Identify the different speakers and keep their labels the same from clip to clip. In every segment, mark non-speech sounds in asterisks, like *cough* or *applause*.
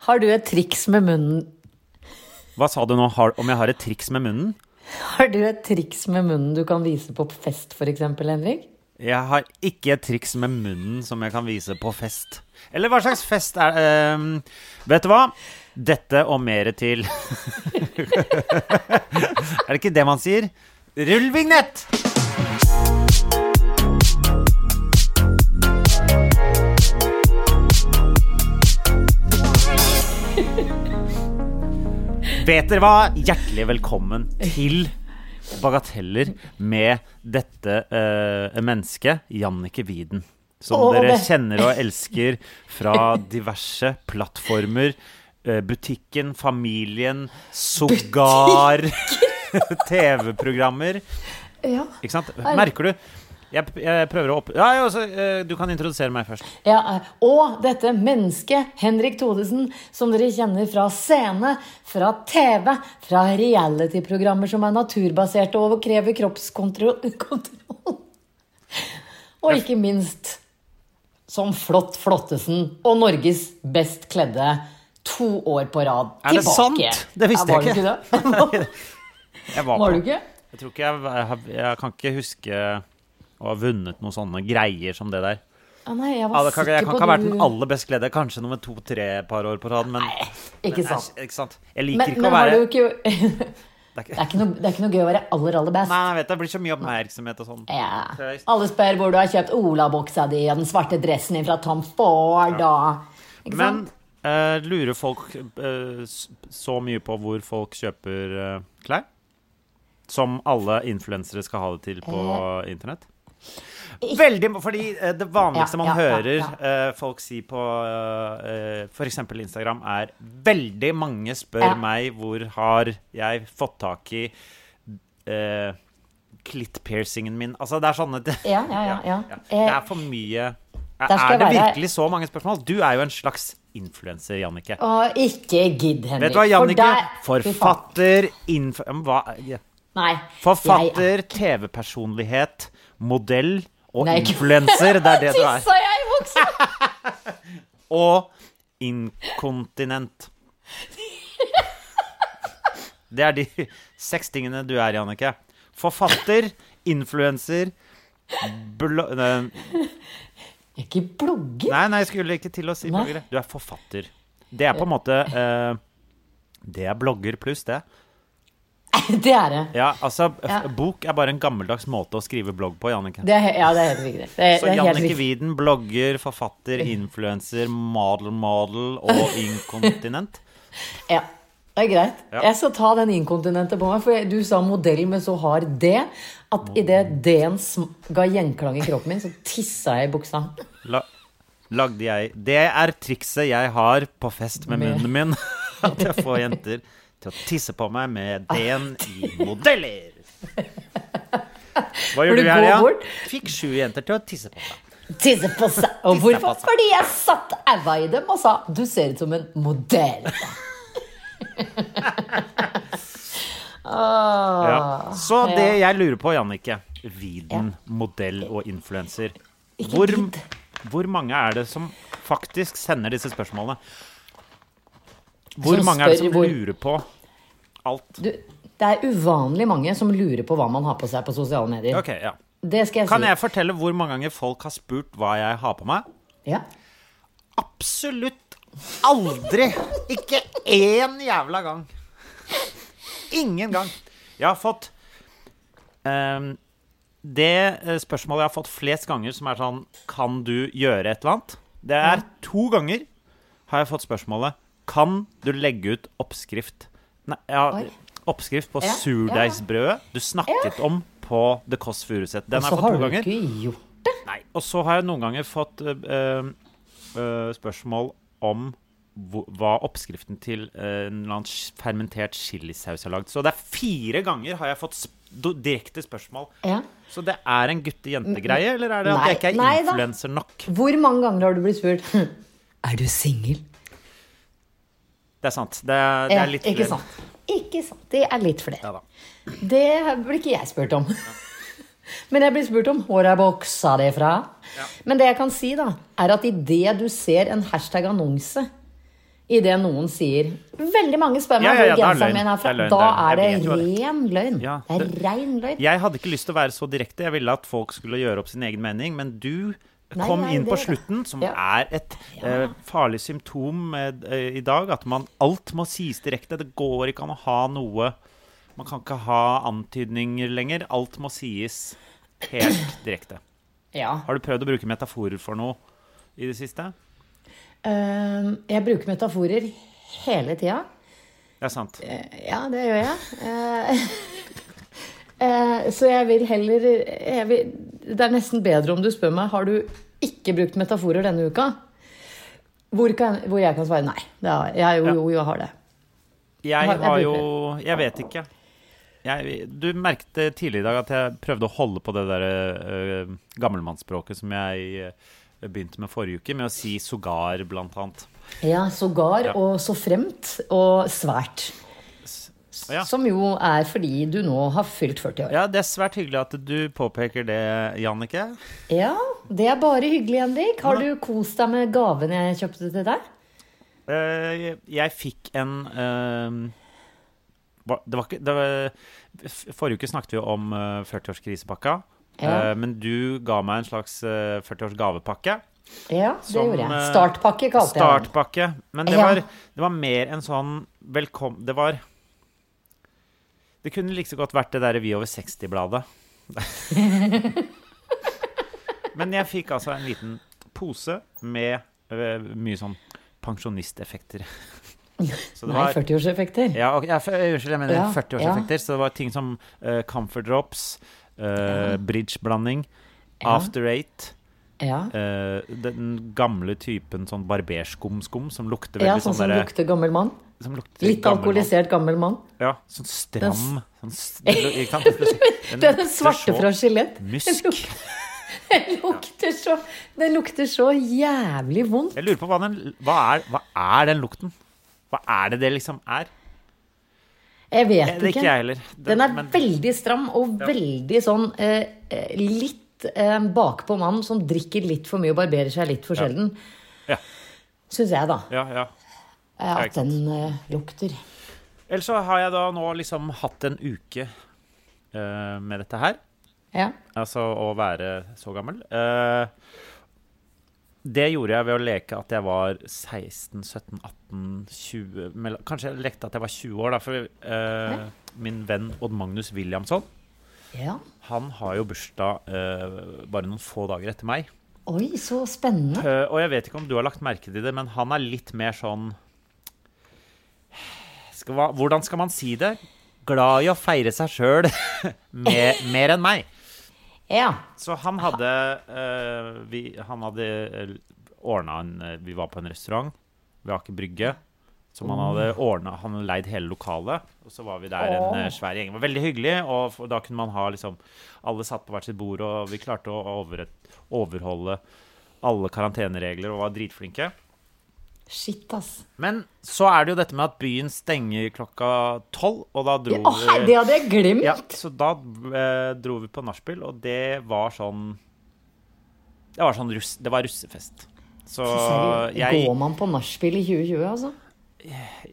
Speaker 1: Har du et triks med munnen?
Speaker 2: Hva sa du nå? Har, om jeg har et triks med munnen?
Speaker 1: Har du et triks med munnen du kan vise på fest, f.eks., Henrik?
Speaker 2: Jeg har ikke et triks med munnen som jeg kan vise på fest. Eller hva slags fest er ehm, Vet du hva? Dette og mere til. *laughs* er det ikke det man sier? Rull vignett! Vet dere hva? Hjertelig velkommen til Bagateller med dette eh, mennesket, Jannicke Wieden. Som
Speaker 1: Åh,
Speaker 2: dere
Speaker 1: det-
Speaker 2: kjenner og elsker fra diverse plattformer. eh, Butikken, familien, sågar *laughs* TV-programmer.
Speaker 1: Ja.
Speaker 2: Ikke sant? Merker du? Jeg, jeg prøver å opp... Ja, jeg også, eh, du kan introdusere meg først.
Speaker 1: Ja, og dette mennesket, Henrik Thodesen, som dere kjenner fra scene, fra TV, fra reality-programmer som er naturbaserte og krever kroppskontroll. *laughs* kontroll. Og ikke minst som Flott Flottesen og Norges best kledde to år på rad
Speaker 2: Er det
Speaker 1: tilbake.
Speaker 2: sant? Det visste jeg *laughs*
Speaker 1: Ja, var du ikke. det?
Speaker 2: Jeg var
Speaker 1: Var du
Speaker 2: på.
Speaker 1: ikke?
Speaker 2: Jeg tror ikke jeg, jeg, jeg kan ikke huske å ha vunnet noen sånne greier som det der.
Speaker 1: Ja, nei, jeg
Speaker 2: Ja,
Speaker 1: var
Speaker 2: det kan, jeg
Speaker 1: sikker
Speaker 2: kan
Speaker 1: på
Speaker 2: ikke ha vært
Speaker 1: du-
Speaker 2: den aller best kledde. Kanskje nummer to-tre et par år på rad, men
Speaker 1: Nei,
Speaker 2: men
Speaker 1: Ikke
Speaker 2: jeg-
Speaker 1: sant.
Speaker 2: ikke sant? Jeg liker
Speaker 1: Men,
Speaker 2: ikke
Speaker 1: men
Speaker 2: å
Speaker 1: har
Speaker 2: være
Speaker 1: du ikke *laughs*
Speaker 2: det er ikke-
Speaker 1: Det er ikke noe, det er ikke noe gøy å være aller, aller best.
Speaker 2: Nei, jeg vet, det blir så mye oppmerksomhet og sånn.
Speaker 1: Ja.
Speaker 2: Tøys.
Speaker 1: Alle spør hvor du har kjøpt olabuksa di og den svarte dressen din fra Tom Ford og Ikke
Speaker 2: Men
Speaker 1: sant?
Speaker 2: eh, lurer folk eh, s- så mye på hvor folk kjøper eh, klær? Som alle influensere skal ha det til på
Speaker 1: Eh.
Speaker 2: internett? Veldig, fordi eh, det vanligste man
Speaker 1: Ja, ja, ja,
Speaker 2: hører
Speaker 1: ja.
Speaker 2: eh, folk si på eh, eh, for f.eks. Instagram, er veldig mange spør
Speaker 1: Ja.
Speaker 2: meg hvor har jeg fått tak i uh, klittpiercingen min Altså, det er
Speaker 1: *laughs*
Speaker 2: sånne
Speaker 1: Ja, ja, ja, ja.
Speaker 2: Det
Speaker 1: Eh,
Speaker 2: er for mye Er,
Speaker 1: der skal
Speaker 2: er det
Speaker 1: jeg være-
Speaker 2: virkelig så mange spørsmål? Du er jo en slags influenser, Jannicke.
Speaker 1: Og ikke gidd, Henrik.
Speaker 2: Vet du hva, Jannicke?
Speaker 1: for der- Fy faen.
Speaker 2: Forfatter, inf... men Hva?
Speaker 1: Nei. jeg
Speaker 2: Forfatter, TV-personlighet, modell og
Speaker 1: Nei, ikke-
Speaker 2: influenser. Det er
Speaker 1: *laughs*
Speaker 2: det
Speaker 1: er-
Speaker 2: du er.
Speaker 1: Tissa jeg i buksa!
Speaker 2: og inkontinent. Det er de seks tingene du er, Jannicke. Forfatter, influenser blo... Nei,
Speaker 1: Jeg er ikke blogger.
Speaker 2: nei, jeg skulle ikke til å si
Speaker 1: Nei.
Speaker 2: bloggere. Du er forfatter. Det er på en måte eh, Det er blogger pluss, det.
Speaker 1: Det er det.
Speaker 2: Ja, altså,
Speaker 1: Ja.
Speaker 2: bok er bare en gammeldags måte å skrive blogg på, Jannicke.
Speaker 1: det er, he- ja, det er helt riktig. Det er,
Speaker 2: Så
Speaker 1: det er helt
Speaker 2: Jannicke
Speaker 1: riktig.
Speaker 2: Wieden, blogger, forfatter, influenser, model, model og inkontinent.
Speaker 1: Ja. Det er greit.
Speaker 2: Ja.
Speaker 1: Jeg skal ta den inkontinentet på meg, for jeg- du sa modell med så hard D at idet D-en sm- ga gjenklang i kroppen min, så tissa jeg i buksa.
Speaker 2: La, lagde jeg Det er trikset jeg har på fest med
Speaker 1: Med-
Speaker 2: munnen min. *laughs* At jeg får jenter til å tisse på meg med D-en i modeller. Hva
Speaker 1: Hvor
Speaker 2: gjorde
Speaker 1: du
Speaker 2: du i helga?
Speaker 1: går bort.
Speaker 2: Fikk sju jenter til å tisse på seg.
Speaker 1: Tisse på seg. *laughs* Og hvorfor?
Speaker 2: på seg.
Speaker 1: Fordi jeg satt æva i dem og sa du ser ut som en
Speaker 2: *laughs*
Speaker 1: modell. Åh.
Speaker 2: Ja. Så
Speaker 1: Ah, ja.
Speaker 2: det jeg lurer på, Jannicke Widen, modell og influenser.
Speaker 1: Ikke
Speaker 2: Hvor,
Speaker 1: gidd.
Speaker 2: hvor mange er det som faktisk sender disse spørsmålene? Hvor
Speaker 1: Som
Speaker 2: mange er det
Speaker 1: spør
Speaker 2: som
Speaker 1: hvor-
Speaker 2: lurer på alt?
Speaker 1: Du, det er uvanlig mange som lurer på hva man har på seg på sosiale medier.
Speaker 2: Ok, ja.
Speaker 1: Det skal jeg
Speaker 2: Kan
Speaker 1: si.
Speaker 2: jeg fortelle hvor mange ganger folk har spurt hva jeg har på meg?
Speaker 1: Ja.
Speaker 2: Absolutt aldri! Ikke én jævla gang. Ingen gang. Jeg har fått ehm, Det eh, spørsmålet jeg har fått flest ganger, som er sånn Kan du gjøre et eller annet? Det er to ganger har jeg fått spørsmålet Kan du legge ut oppskrift Nei, ja,
Speaker 1: Oi.
Speaker 2: oppskrift på
Speaker 1: Ja, ja.
Speaker 2: surdeigsbrødet du snakket om på The Kåss Furuseth. Den har
Speaker 1: Så
Speaker 2: jeg fått
Speaker 1: har
Speaker 2: to
Speaker 1: du
Speaker 2: ganger.
Speaker 1: ikke gjort
Speaker 2: Nei, og så har jeg noen ganger fått øh, øh, eh, spørsmål om hvor- hva oppskriften til eh, en eller annen sh- fermentert chilisaus er lagd. Så det er fire ganger har jeg fått sp do- direkte spørsmål.
Speaker 1: Ja.
Speaker 2: Så det er en gutte-jente-greie, eller er det at
Speaker 1: Nei,
Speaker 2: jeg ikke
Speaker 1: nei
Speaker 2: er
Speaker 1: da.
Speaker 2: influenser nok?
Speaker 1: Hvor mange ganger har du blitt spurt «Hm, Er du singel?
Speaker 2: Det er sant. Det er, det
Speaker 1: Ja,
Speaker 2: er litt
Speaker 1: Eh, ikke
Speaker 2: flere.
Speaker 1: sant. Ikke sant. Det er litt flere.
Speaker 2: Ja da.
Speaker 1: Det blir ikke jeg spurt om. *laughs* Men jeg blir spurt om hvor jeg boksa det fra. Men det jeg kan si, da, er at idet du ser en hashtag annonse Idet noen sier 'Veldig mange spør meg
Speaker 2: Ja, ja, ja,
Speaker 1: hvor
Speaker 2: det er
Speaker 1: genseren min
Speaker 2: løgn.
Speaker 1: er fra',
Speaker 2: Det er løgn,
Speaker 1: da er
Speaker 2: det
Speaker 1: det
Speaker 2: er løgn. Jeg vet
Speaker 1: ren løgn.
Speaker 2: Ja,
Speaker 1: Det er
Speaker 2: det-
Speaker 1: rein løgn.
Speaker 2: Jeg hadde ikke lyst til å være så direkte. Jeg ville at folk skulle gjøre opp sin egen mening, men du
Speaker 1: Nei,
Speaker 2: kom
Speaker 1: nei,
Speaker 2: inn på
Speaker 1: det-
Speaker 2: slutten, som
Speaker 1: Ja.
Speaker 2: er et eh, farlig symptom med, eh, i dag. At man alt må sies direkte. Det går ikke an å ha noe Man kan ikke ha antydninger lenger. Alt må sies helt direkte.
Speaker 1: Ja.
Speaker 2: Har du prøvd å bruke metaforer for noe i det siste?
Speaker 1: Øhm, Ehm, Jeg bruker metaforer hele tida.
Speaker 2: Det er sant.
Speaker 1: Ja, det gjør jeg. Eh, *laughs* eh, Så jeg vil heller jeg vil, Det er nesten bedre om du spør meg har du ikke brukt metaforer denne uka. Hvor, kan, hvor jeg kan svare nei. Det har, jeg, jo, jo, jo, jeg har det.
Speaker 2: Jeg
Speaker 1: Jeg
Speaker 2: har jo
Speaker 1: bruker-
Speaker 2: Jeg vet ikke. Jeg, du merket tidligere i dag at jeg prøvde å holde på det der øh, gammelmannsspråket som jeg øh, begynte med forrige uke, med å si sågar, blant annet.
Speaker 1: Ja, sågar
Speaker 2: Ja.
Speaker 1: og så fremt og svært.
Speaker 2: Ja.
Speaker 1: Som jo er fordi du nå har fylt 40 år.
Speaker 2: ja, det er svært hyggelig at du påpeker det, Jannicke.
Speaker 1: Ja, det er bare hyggelig, Henrik. Har du kost deg med gaven jeg kjøpte til deg?
Speaker 2: Eh, jeg fikk en eh, hva- Det var ikke det var, f- Forrige uke snakket vi jo om eh, 40-årskrisepakka.
Speaker 1: Ja.
Speaker 2: Eh, men du ga meg en slags eh, 40-årsgavepakke.
Speaker 1: Ja, det
Speaker 2: Som,
Speaker 1: gjorde jeg.
Speaker 2: eh,
Speaker 1: Startpakke kalte jeg den.
Speaker 2: Startpakke. Men det,
Speaker 1: Ja.
Speaker 2: var, det var mer en sånn velkom... Det var Det kunne like så godt vært det derre Vi over 60-bladet. *laughs* Men jeg fikk altså en liten pose med eh, mye sånn
Speaker 1: *laughs*
Speaker 2: pensjonisteffekter. Så det
Speaker 1: Nei,
Speaker 2: var
Speaker 1: 40-årseffekter.
Speaker 2: ja, ok, ja, f- Unnskyld, jeg mener
Speaker 1: Ja,
Speaker 2: 40-årseffekter. Så det var ting som eh, Comfort Drops, eh, bridgeblanding,
Speaker 1: Ja.
Speaker 2: After Eight
Speaker 1: Ja.
Speaker 2: Eh, den gamle typen sånn barberskumskum som lukter
Speaker 1: Ja,
Speaker 2: veldig
Speaker 1: sånn
Speaker 2: sånn,
Speaker 1: som
Speaker 2: derre-
Speaker 1: lukter gammel mann.
Speaker 2: som lukter
Speaker 1: Litt
Speaker 2: gammel
Speaker 1: alkoholisert gammel mann.
Speaker 2: mann. Ja, sånn
Speaker 1: Den
Speaker 2: stram
Speaker 1: s-
Speaker 2: sånn, s- ikke sant?
Speaker 1: *laughs*
Speaker 2: Den
Speaker 1: Det er den
Speaker 2: lukter
Speaker 1: svarte
Speaker 2: så
Speaker 1: fra Skjelett.
Speaker 2: Mysk.
Speaker 1: *laughs* Den lukter så Den lukter så jævlig vondt.
Speaker 2: Jeg lurer på hva, den, hva, er, hva er den lukten? Hva er det det liksom er?
Speaker 1: Jeg
Speaker 2: Eh,
Speaker 1: vet
Speaker 2: Det er ikke
Speaker 1: ikke.
Speaker 2: jeg heller. Den-
Speaker 1: Den er
Speaker 2: men-
Speaker 1: veldig stram og veldig sånn eh, eh, litt eh, bakpå mann som drikker litt for mye og barberer seg litt for sjelden.
Speaker 2: Ja.
Speaker 1: Syns jeg, da.
Speaker 2: ja, ja.
Speaker 1: eh,
Speaker 2: Ja, ikke
Speaker 1: At den eh, lukter.
Speaker 2: Ellers så har jeg da nå liksom hatt en uke eh, med dette her.
Speaker 1: Ja.
Speaker 2: Altså å være så gammel. Eh, det gjorde jeg ved å leke at jeg var 16, 17, 18, 20 mell- Kanskje jeg lekte at jeg var 20 år, da. For eh, min venn Odd Magnus Williamson
Speaker 1: ja.
Speaker 2: han har jo bursdag eh, bare noen få dager etter meg.
Speaker 1: Oi, så spennende.
Speaker 2: Eh, og jeg vet ikke om du har lagt merke til det, men han er litt mer sånn skal, hva- Hvordan skal man si det? Glad i å feire seg sjøl *laughs* mer, mer enn meg.
Speaker 1: Ja.
Speaker 2: Så han hadde eh, vi, Han hadde eh, ordna en eh, Vi var på en restaurant ved Aker Brygge. Som han hadde ordna Han hadde leid hele lokalet. Og så var vi der en eh, svær gjeng. Det var veldig hyggelig. Og f- da kunne man ha liksom Alle satt på hvert sitt bord, og vi klarte å over, overholde alle karanteneregler og var dritflinke.
Speaker 1: Shit, ass.
Speaker 2: Men så er det jo dette med at byen stenger klokka tolv, og da dro
Speaker 1: Å, hei,
Speaker 2: vi-
Speaker 1: det hadde jeg glemt!
Speaker 2: ja, så da eh, dro vi på nachspiel, og det var sånn Det var sånn russ, det var russefest. Så
Speaker 1: Seriøst,
Speaker 2: jeg
Speaker 1: Går man på nachspiel i 2020, altså?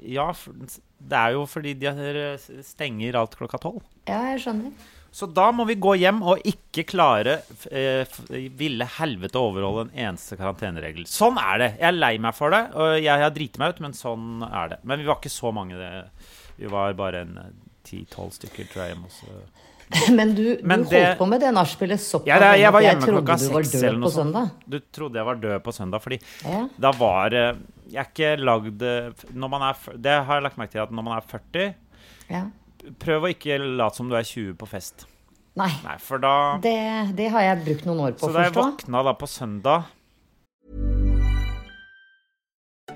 Speaker 2: Ja, for- det er jo fordi de her eh, stenger alt klokka tolv.
Speaker 1: Ja, jeg skjønner.
Speaker 2: Så da må vi gå hjem og ikke klare f- eh, f- ville helvete å overholde en eneste karanteneregel. Sånn er det. Jeg er lei meg for det, og jeg har driti meg ut, men sånn er det. Men vi var ikke så mange. Det. Vi var bare en ti-tolv stykker, tror jeg, hjemme hos eh,
Speaker 1: *laughs* Men du,
Speaker 2: Men
Speaker 1: du holdt
Speaker 2: det-
Speaker 1: på med det nachspielet såpass
Speaker 2: Ja, det,
Speaker 1: lenge
Speaker 2: jeg
Speaker 1: at
Speaker 2: var hjemme
Speaker 1: trodde
Speaker 2: klokka
Speaker 1: du var
Speaker 2: seks
Speaker 1: død
Speaker 2: eller noe
Speaker 1: på
Speaker 2: sånt.
Speaker 1: søndag.
Speaker 2: Du trodde jeg var død på søndag, fordi
Speaker 1: Ja.
Speaker 2: da var eh, Jeg er ikke lagd eh, f- når man er, f- Det har jeg lagt merke til at når man er 40,
Speaker 1: Ja.
Speaker 2: prøv å ikke late som du er 20 på fest.
Speaker 1: Nei,
Speaker 2: Nei, for da
Speaker 1: det, det har jeg brukt noen år på å
Speaker 2: Så da jeg
Speaker 1: forstå.
Speaker 2: våkna da på søndag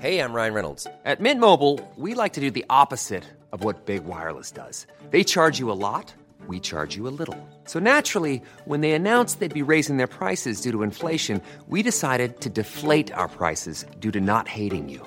Speaker 3: Hey, I'm Ryan Reynolds. At Mint Mobile, we like to do the opposite of what Big Wireless does. They charge you a lot, we charge you a little. So naturally, when they announced they'd be raising their prices due to inflation, we decided to deflate our prices due to not hating you.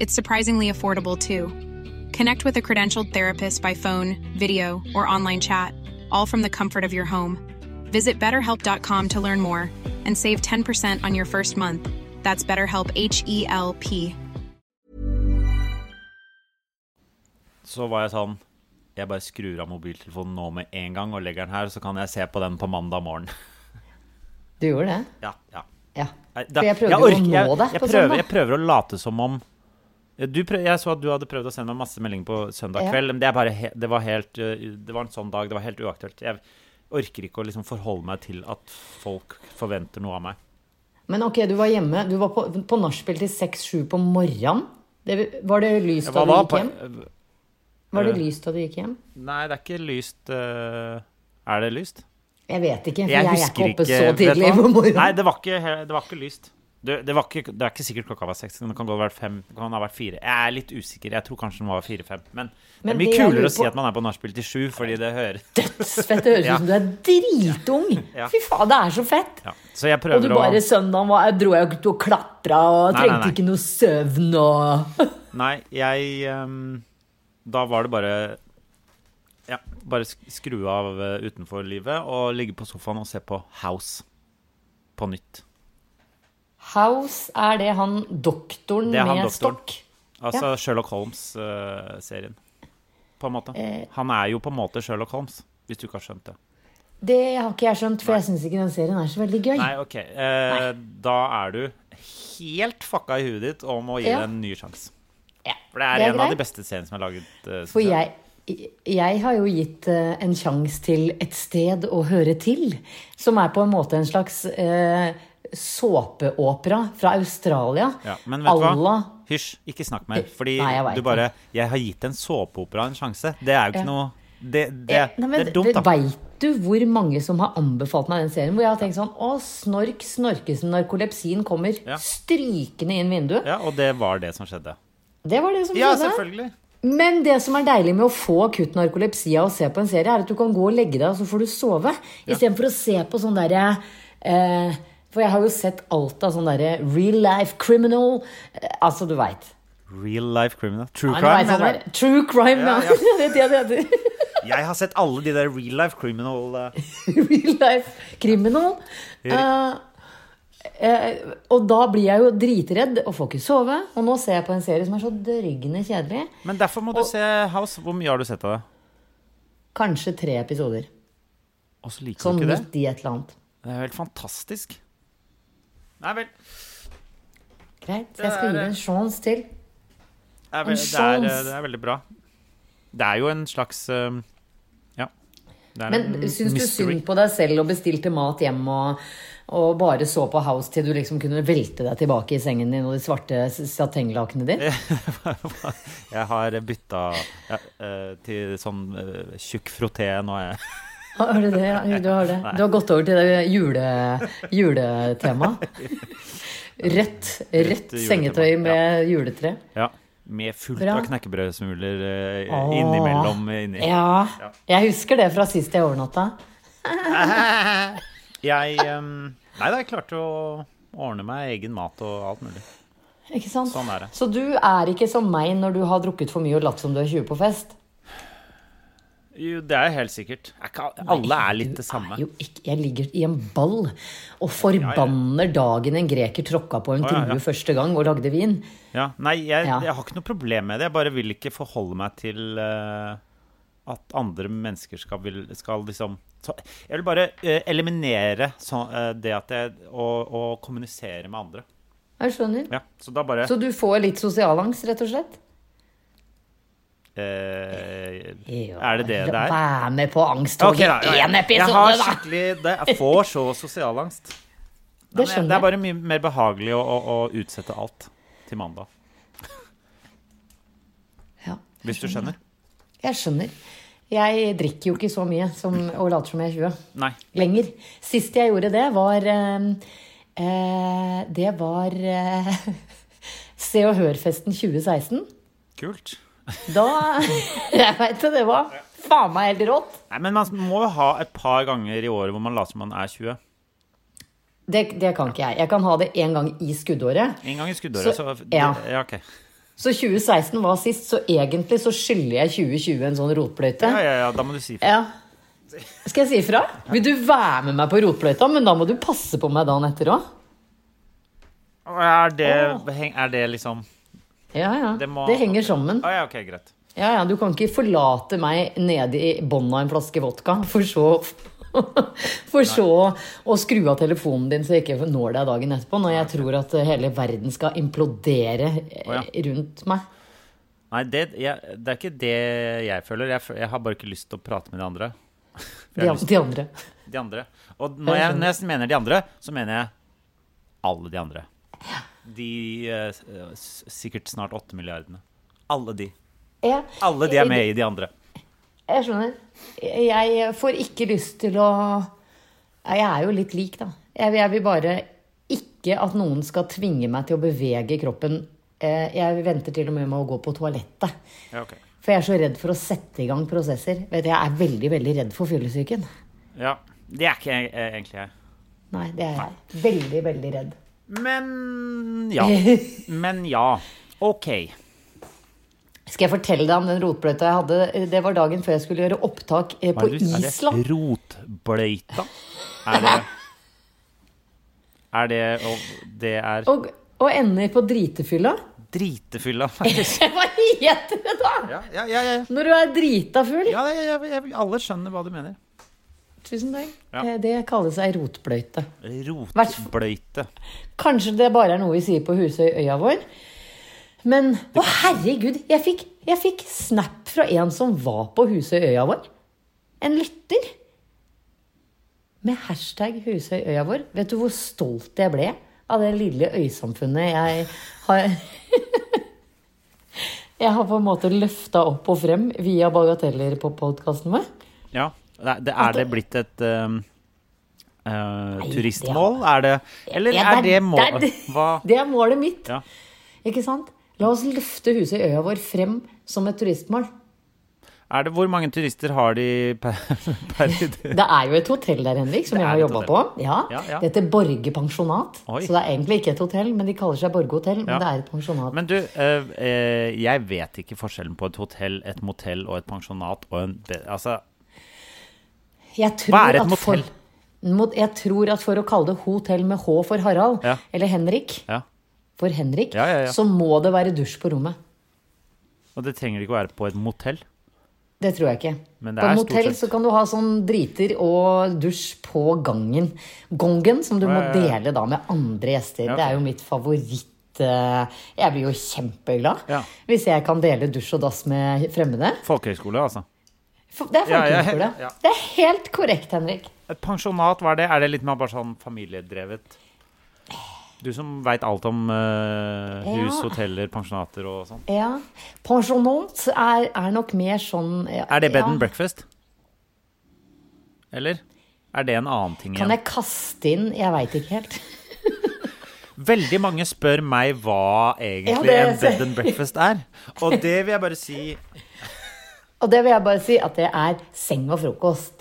Speaker 4: It's surprisingly affordable too. Connect with a credentialed therapist by phone, video, or online chat, all from the comfort of your home. Visit betterhelp.com to learn more and save 10% on your first month. That's BetterHelp H E L P.
Speaker 2: Så var jeg sånn Jeg bare skrur av mobiltelefonen nå med en gang og legger den her, så kan jeg se på den på mandag morgen. *laughs*
Speaker 1: Du gjorde det?
Speaker 2: Ja, ja.
Speaker 1: Ja.
Speaker 2: Nei, da-
Speaker 1: For jeg prøvde
Speaker 2: jeg
Speaker 1: jo
Speaker 2: orker-
Speaker 1: å nå
Speaker 2: jeg-
Speaker 1: deg
Speaker 2: jeg
Speaker 1: på
Speaker 2: prøver-
Speaker 1: søndag.
Speaker 2: Jeg prøver å late som om du prøv, Jeg så at du hadde prøvd å sende meg masse meldinger på søndag
Speaker 1: Ja.
Speaker 2: kveld. Men det, er bare he, det, var helt, uh, det var en sånn dag. Det var helt uaktuelt. Jeg orker ikke å liksom forholde meg til at folk forventer noe av meg.
Speaker 1: Men ok, du var hjemme. Du var på, på nachspiel til 6-7 på morgenen. Det, var det lyst da du
Speaker 2: Hva da?
Speaker 1: gikk hjem?
Speaker 2: På- Eh.
Speaker 1: Var det lyst da du gikk hjem?
Speaker 2: Nei, det er ikke lyst uh, Er det lyst?
Speaker 1: Jeg vet ikke, for
Speaker 2: Jeg
Speaker 1: jeg, er
Speaker 2: husker
Speaker 1: ikke oppe
Speaker 2: ikke
Speaker 1: så
Speaker 2: vet du
Speaker 1: tidlig
Speaker 2: hva?
Speaker 1: på morgenen.
Speaker 2: Nei, det var ikke, he- det var ikke lyst. Det, det, var ikke, det er ikke sikkert klokka var seks. men Det kan godt ha vært fem. Det kan ha vært fire. Jeg er litt usikker. Jeg tror kanskje den var fire-fem. Men, det
Speaker 1: Men det
Speaker 2: er mye
Speaker 1: jeg
Speaker 2: kulere
Speaker 1: lurer
Speaker 2: å si
Speaker 1: på-
Speaker 2: at man er på nachspiel til sju, fordi det
Speaker 1: *laughs*
Speaker 2: hører
Speaker 1: Dødsfett. Det høres
Speaker 2: Ja.
Speaker 1: ut som du er dritung.
Speaker 2: Ja.
Speaker 1: Fy faen, det er så fett.
Speaker 2: ja. Så jeg
Speaker 1: Og du
Speaker 2: prøver å
Speaker 1: bare søndagen var, dro jeg ut og klatra og
Speaker 2: Nei, nei,
Speaker 1: trengte
Speaker 2: nei.
Speaker 1: ikke noe søvn og
Speaker 2: Nei, jeg ehm, Da var det bare Ja, bare sk- skru av eh, utenforlivet og ligge på sofaen og se på House på nytt.
Speaker 1: House er det han doktoren
Speaker 2: Det er han
Speaker 1: med
Speaker 2: doktoren.
Speaker 1: stokk.
Speaker 2: Altså Sherlock Holmes-serien, på en måte.
Speaker 1: Eh.
Speaker 2: Han er jo på en måte Sherlock Holmes, hvis du ikke har skjønt det.
Speaker 1: Det har ikke jeg skjønt, for jeg syns ikke den serien er så veldig gøy.
Speaker 2: Nei, OK. Eh, Da er du helt fucka i huet ditt og må gi
Speaker 1: Ja.
Speaker 2: det en ny sjanse.
Speaker 1: Ja,
Speaker 2: For det er,
Speaker 1: det er
Speaker 2: en av de
Speaker 1: greit.
Speaker 2: beste seriene som er laget. eh, synes
Speaker 1: For jeg, jeg har jo gitt eh, en sjanse til Et sted å høre til, som er på en måte en slags eh, såpeopera fra Australia.
Speaker 2: Ja, men vet du hva?
Speaker 1: Allah-
Speaker 2: Hysj, ikke snakk mer. Fordi
Speaker 1: Nei, jeg vet
Speaker 2: du bare Jeg har gitt en såpeopera en sjanse. Det er jo
Speaker 1: Ja.
Speaker 2: ikke noe det, det,
Speaker 1: Eh, nei, men
Speaker 2: det er dumt, da.
Speaker 1: Veit du hvor mange som har anbefalt meg den serien? Hvor jeg har tenkt sånn Å, snork, snorkesen, narkolepsien kommer
Speaker 2: Ja.
Speaker 1: strykende inn vinduet.
Speaker 2: Ja, og det var det som skjedde.
Speaker 1: Det var det som
Speaker 2: Ja,
Speaker 1: skjedde.
Speaker 2: selvfølgelig.
Speaker 1: Men det som er deilig med å få akutt narkolepsi av å se på en serie, er at du kan gå og legge deg, og så får du sove. Istedenfor å se på sånn derre eh, For jeg har jo sett alt av sånn derre real life criminal eh, Altså, du veit.
Speaker 2: Real life criminal. True
Speaker 1: Ja, nå er
Speaker 2: crime,
Speaker 1: jeg sånn
Speaker 2: mener du?
Speaker 1: der- True crime, ja.
Speaker 2: Ja,
Speaker 1: *laughs*
Speaker 2: ja.
Speaker 1: det er det det heter.
Speaker 2: Jeg har sett alle de der real life criminal eh,
Speaker 1: *laughs* real life criminal. Eh, eh, og da blir jeg jo dritredd og får ikke sove. Og nå ser jeg på en serie som er så dørgende kjedelig.
Speaker 2: Men derfor må du se House. Hvor mye har du sett av det?
Speaker 1: Kanskje tre episoder.
Speaker 2: Og så liker
Speaker 1: Sånn
Speaker 2: du ikke det?
Speaker 1: midt i et eller annet.
Speaker 2: Det er jo helt fantastisk. Nei vel. Det
Speaker 1: Greit, så jeg skal gi det en sjanse til.
Speaker 2: er, ve- det,
Speaker 1: sånn
Speaker 2: er, eh, det er veldig bra. Det er jo en slags eh, Ja. Det er
Speaker 1: Men
Speaker 2: en
Speaker 1: syns du
Speaker 2: mystery.
Speaker 1: synd på deg selv og bestilte mat hjem og, og bare så på House til du liksom kunne velte deg tilbake i sengen din og de svarte s- satenglakenene dine?
Speaker 2: Jeg har bytta ja, eh, til sånn eh, tjukk frotté nå, jeg.
Speaker 1: Har har du det? Ja, Du har det. Du har gått over til det jule, juletemaet. Rødt, rødt
Speaker 2: juletema,
Speaker 1: sengetøy
Speaker 2: ja.
Speaker 1: med juletre.
Speaker 2: Ja. Med fullt
Speaker 1: Bra.
Speaker 2: av knekkebrødsmuler eh, innimellom. Inni.
Speaker 1: Ja. Jeg husker det fra sist jeg overnatta.
Speaker 2: Jeg em, Nei da, jeg klarte å ordne meg egen mat og alt mulig.
Speaker 1: Ikke sant?
Speaker 2: Sånn er det.
Speaker 1: Så du er ikke som meg når du har drukket for mye og latt som du er 20 på fest?
Speaker 2: Jo, det er helt sikkert. Er ikke al- alle er litt det samme.
Speaker 1: Nei, jo ikke, jeg ligger i en ball og forbanner dagen en greker tråkka på en
Speaker 2: Å, ja,
Speaker 1: grue
Speaker 2: ja.
Speaker 1: første gang og lagde vin.
Speaker 2: Ja, nei, jeg,
Speaker 1: Ja.
Speaker 2: jeg har ikke noe problem med det. Jeg bare vil ikke forholde meg til eh, at andre mennesker skal, vil, skal liksom så, Jeg vil bare eh, eliminere så, eh, det at jeg å, å kommunisere med andre.
Speaker 1: Jeg skjønner.
Speaker 2: Ja, så da bare
Speaker 1: Så du får litt sosialangst, rett og slett?
Speaker 2: eh, Er det det det er?
Speaker 1: Vær med på
Speaker 2: Ok,
Speaker 1: angsttoget
Speaker 2: da, ja, ja.
Speaker 1: én
Speaker 2: jeg
Speaker 1: episode,
Speaker 2: har
Speaker 1: da!
Speaker 2: skikkelig det, Jeg får så sosialangst.
Speaker 1: Det
Speaker 2: Men Det er
Speaker 1: skjønner jeg.
Speaker 2: bare mye mer behagelig å, å, å utsette alt til mandag.
Speaker 1: Ja,
Speaker 2: Hvis du skjønner?
Speaker 1: jeg skjønner. Jeg drikker jo ikke så mye som, og later som jeg er 20.
Speaker 2: Nei.
Speaker 1: lenger. Sist jeg gjorde det, var eh, eh, Det var eh, *laughs* Se og Hør-festen 2016.
Speaker 2: Kult.
Speaker 1: Da *laughs* Jeg veit det, det var faen meg helt rått.
Speaker 2: Nei, men man må jo ha et par ganger i året hvor man later som man er 20.
Speaker 1: Det, det kan ikke jeg. Jeg kan ha det én gang i skuddåret.
Speaker 2: En gang i skuddåret, så,
Speaker 1: Så-
Speaker 2: det-
Speaker 1: ja.
Speaker 2: ja, ok.
Speaker 1: Så 2016 var sist, så egentlig så skylder jeg 2020 en sånn rotbløyte.
Speaker 2: Ja, ja, ja, da må du si fra.
Speaker 1: Ja. Skal jeg si ifra? Vil du være med meg på rotbløyta, men da må du passe på meg dagen etter òg.
Speaker 2: Og Er det, heng- er det liksom
Speaker 1: Ja, ja.
Speaker 2: Det
Speaker 1: Det,
Speaker 2: må-
Speaker 1: henger sammen.
Speaker 2: Å ja, ok, greit.
Speaker 1: Ja, ja, Du kan ikke forlate meg nede i bånn av en flaske vodka, for så *laughs* For så å skru av telefonen din så jeg ikke når deg dagen etterpå, når jeg tror at eh, hele verden skal implodere eh,
Speaker 2: Å,
Speaker 1: rundt meg.
Speaker 2: Nei, det, jeg, det er ikke det jeg føler. Jeg, fø- jeg har bare ikke lyst til å prate med de andre. For jeg
Speaker 1: De,
Speaker 2: har
Speaker 1: an-
Speaker 2: lyst-
Speaker 1: de andre.
Speaker 2: de andre. Og når jeg, når jeg mener de andre, så mener jeg alle de andre. De eh, s- eh, s- sikkert snart åtte milliardene. Alle de.
Speaker 1: Jeg,
Speaker 2: Alle de er med i de andre.
Speaker 1: Jeg skjønner. Jeg får ikke lyst til å Nei, Jeg er jo litt lik, da. Jeg, jeg vil bare ikke at noen skal tvinge meg til å bevege kroppen. Eh, Jeg venter til og med med å gå på toalettet.
Speaker 2: Ja, ok.
Speaker 1: For jeg er så redd for å sette i gang prosesser. Vet du, Jeg er veldig veldig redd for fyllesyken.
Speaker 2: Ja, det er ikke jeg, eh, egentlig jeg.
Speaker 1: Nei, det er jeg. Veldig, veldig redd.
Speaker 2: Men *laughs* ja. Men ja. OK.
Speaker 1: *laughs* Skal jeg fortelle deg om den rotbløyta jeg hadde? Det var dagen før jeg skulle gjøre opptak eh, på
Speaker 2: Er du-
Speaker 1: Island.
Speaker 2: Er det rotbløyta? Er det Er det og Det er
Speaker 1: Og, og ender på dritefylla.
Speaker 2: dritefylla,
Speaker 1: *laughs*
Speaker 2: faktisk.
Speaker 1: Hva heter det da?
Speaker 2: Ja, ja, ja. ja.
Speaker 1: Når du er drita full?
Speaker 2: ja jeg, jeg, jeg, alle skjønner hva du mener.
Speaker 1: Tusen takk.
Speaker 2: Ja.
Speaker 1: Eh, Det kalles ei rotbløyte.
Speaker 2: Rotbløyte.
Speaker 1: Kanskje det bare er noe vi sier på Husøyøya vår. Men å herregud, jeg fikk, jeg fikk snap fra en som var på Husøyøya vår. En lytter. Med hashtag Husøyøya vår. Vet du hvor stolt jeg ble av det lille øysamfunnet jeg har *laughs* Jeg har på en måte løfta opp og frem via bagateller på podkasten vår.
Speaker 2: Ja. Er det, er det blitt et um, eh, turistmål? Er det Eller
Speaker 1: Ja,
Speaker 2: er det mål
Speaker 1: det,
Speaker 2: Hva?
Speaker 1: *laughs* det er målet mitt.
Speaker 2: Ja.
Speaker 1: Ikke sant? La oss løfte huset i øya vår frem som et turistmål.
Speaker 2: Er det, hvor mange turister har de per, *laughs* per i dag?
Speaker 1: Det er jo et hotell der, Henrik, som
Speaker 2: Det
Speaker 1: jeg
Speaker 2: er
Speaker 1: har
Speaker 2: et
Speaker 1: jobba på.
Speaker 2: hotell.
Speaker 1: Ja,
Speaker 2: Ja, ja.
Speaker 1: Det heter Borge pensjonat.
Speaker 2: Oi.
Speaker 1: Så det er egentlig ikke et hotell, men de kaller seg Borge hotell. Men
Speaker 2: Ja.
Speaker 1: det er et pensjonat.
Speaker 2: Men du, eh, eh, jeg vet ikke forskjellen på et hotell, et motell og et pensjonat og en be- Altså,
Speaker 1: Jeg tror
Speaker 2: Hva er et
Speaker 1: at
Speaker 2: motell?
Speaker 1: For, mot, jeg tror at for å kalle det hotell med H for Harald,
Speaker 2: Ja.
Speaker 1: eller Henrik,
Speaker 2: ja.
Speaker 1: for Henrik,
Speaker 2: Ja, ja, ja.
Speaker 1: så må det være dusj på rommet.
Speaker 2: Og det trenger ikke å være på et motell.
Speaker 1: Det tror jeg ikke.
Speaker 2: Men det
Speaker 1: På
Speaker 2: er
Speaker 1: et
Speaker 2: stort
Speaker 1: hotell
Speaker 2: sett-
Speaker 1: så kan du ha sånn driter og dusj på gangen. Gongen, som du må
Speaker 2: ja, ja.
Speaker 1: dele da med andre gjester.
Speaker 2: Ja,
Speaker 1: Det
Speaker 2: ok.
Speaker 1: er jo mitt favoritt eh, Jeg blir jo kjempeglad
Speaker 2: Ja.
Speaker 1: hvis jeg kan dele dusj og dass med fremmede.
Speaker 2: Folkehøyskole, altså.
Speaker 1: For- Det er
Speaker 2: Ja, ja,
Speaker 1: folkehøyskole.
Speaker 2: ja, ja.
Speaker 1: Det er helt korrekt, Henrik.
Speaker 2: Et pensjonat, hva er det? Er det litt mer bare sånn familiedrevet? Du som veit alt om eh, hus,
Speaker 1: Ja.
Speaker 2: hoteller, pensjonater og sånn.
Speaker 1: Ja. Pensjonant er, er nok mer sånn ja,
Speaker 2: Er det bed
Speaker 1: ja.
Speaker 2: and breakfast? Eller? Er det en annen ting
Speaker 1: Kan
Speaker 2: igjen?
Speaker 1: jeg kaste inn Jeg veit ikke helt.
Speaker 2: Veldig mange spør meg hva egentlig
Speaker 1: Ja,
Speaker 2: en
Speaker 1: det-
Speaker 2: bed and breakfast er. Og det vil jeg bare si
Speaker 1: Og det vil jeg bare si at det er seng og frokost.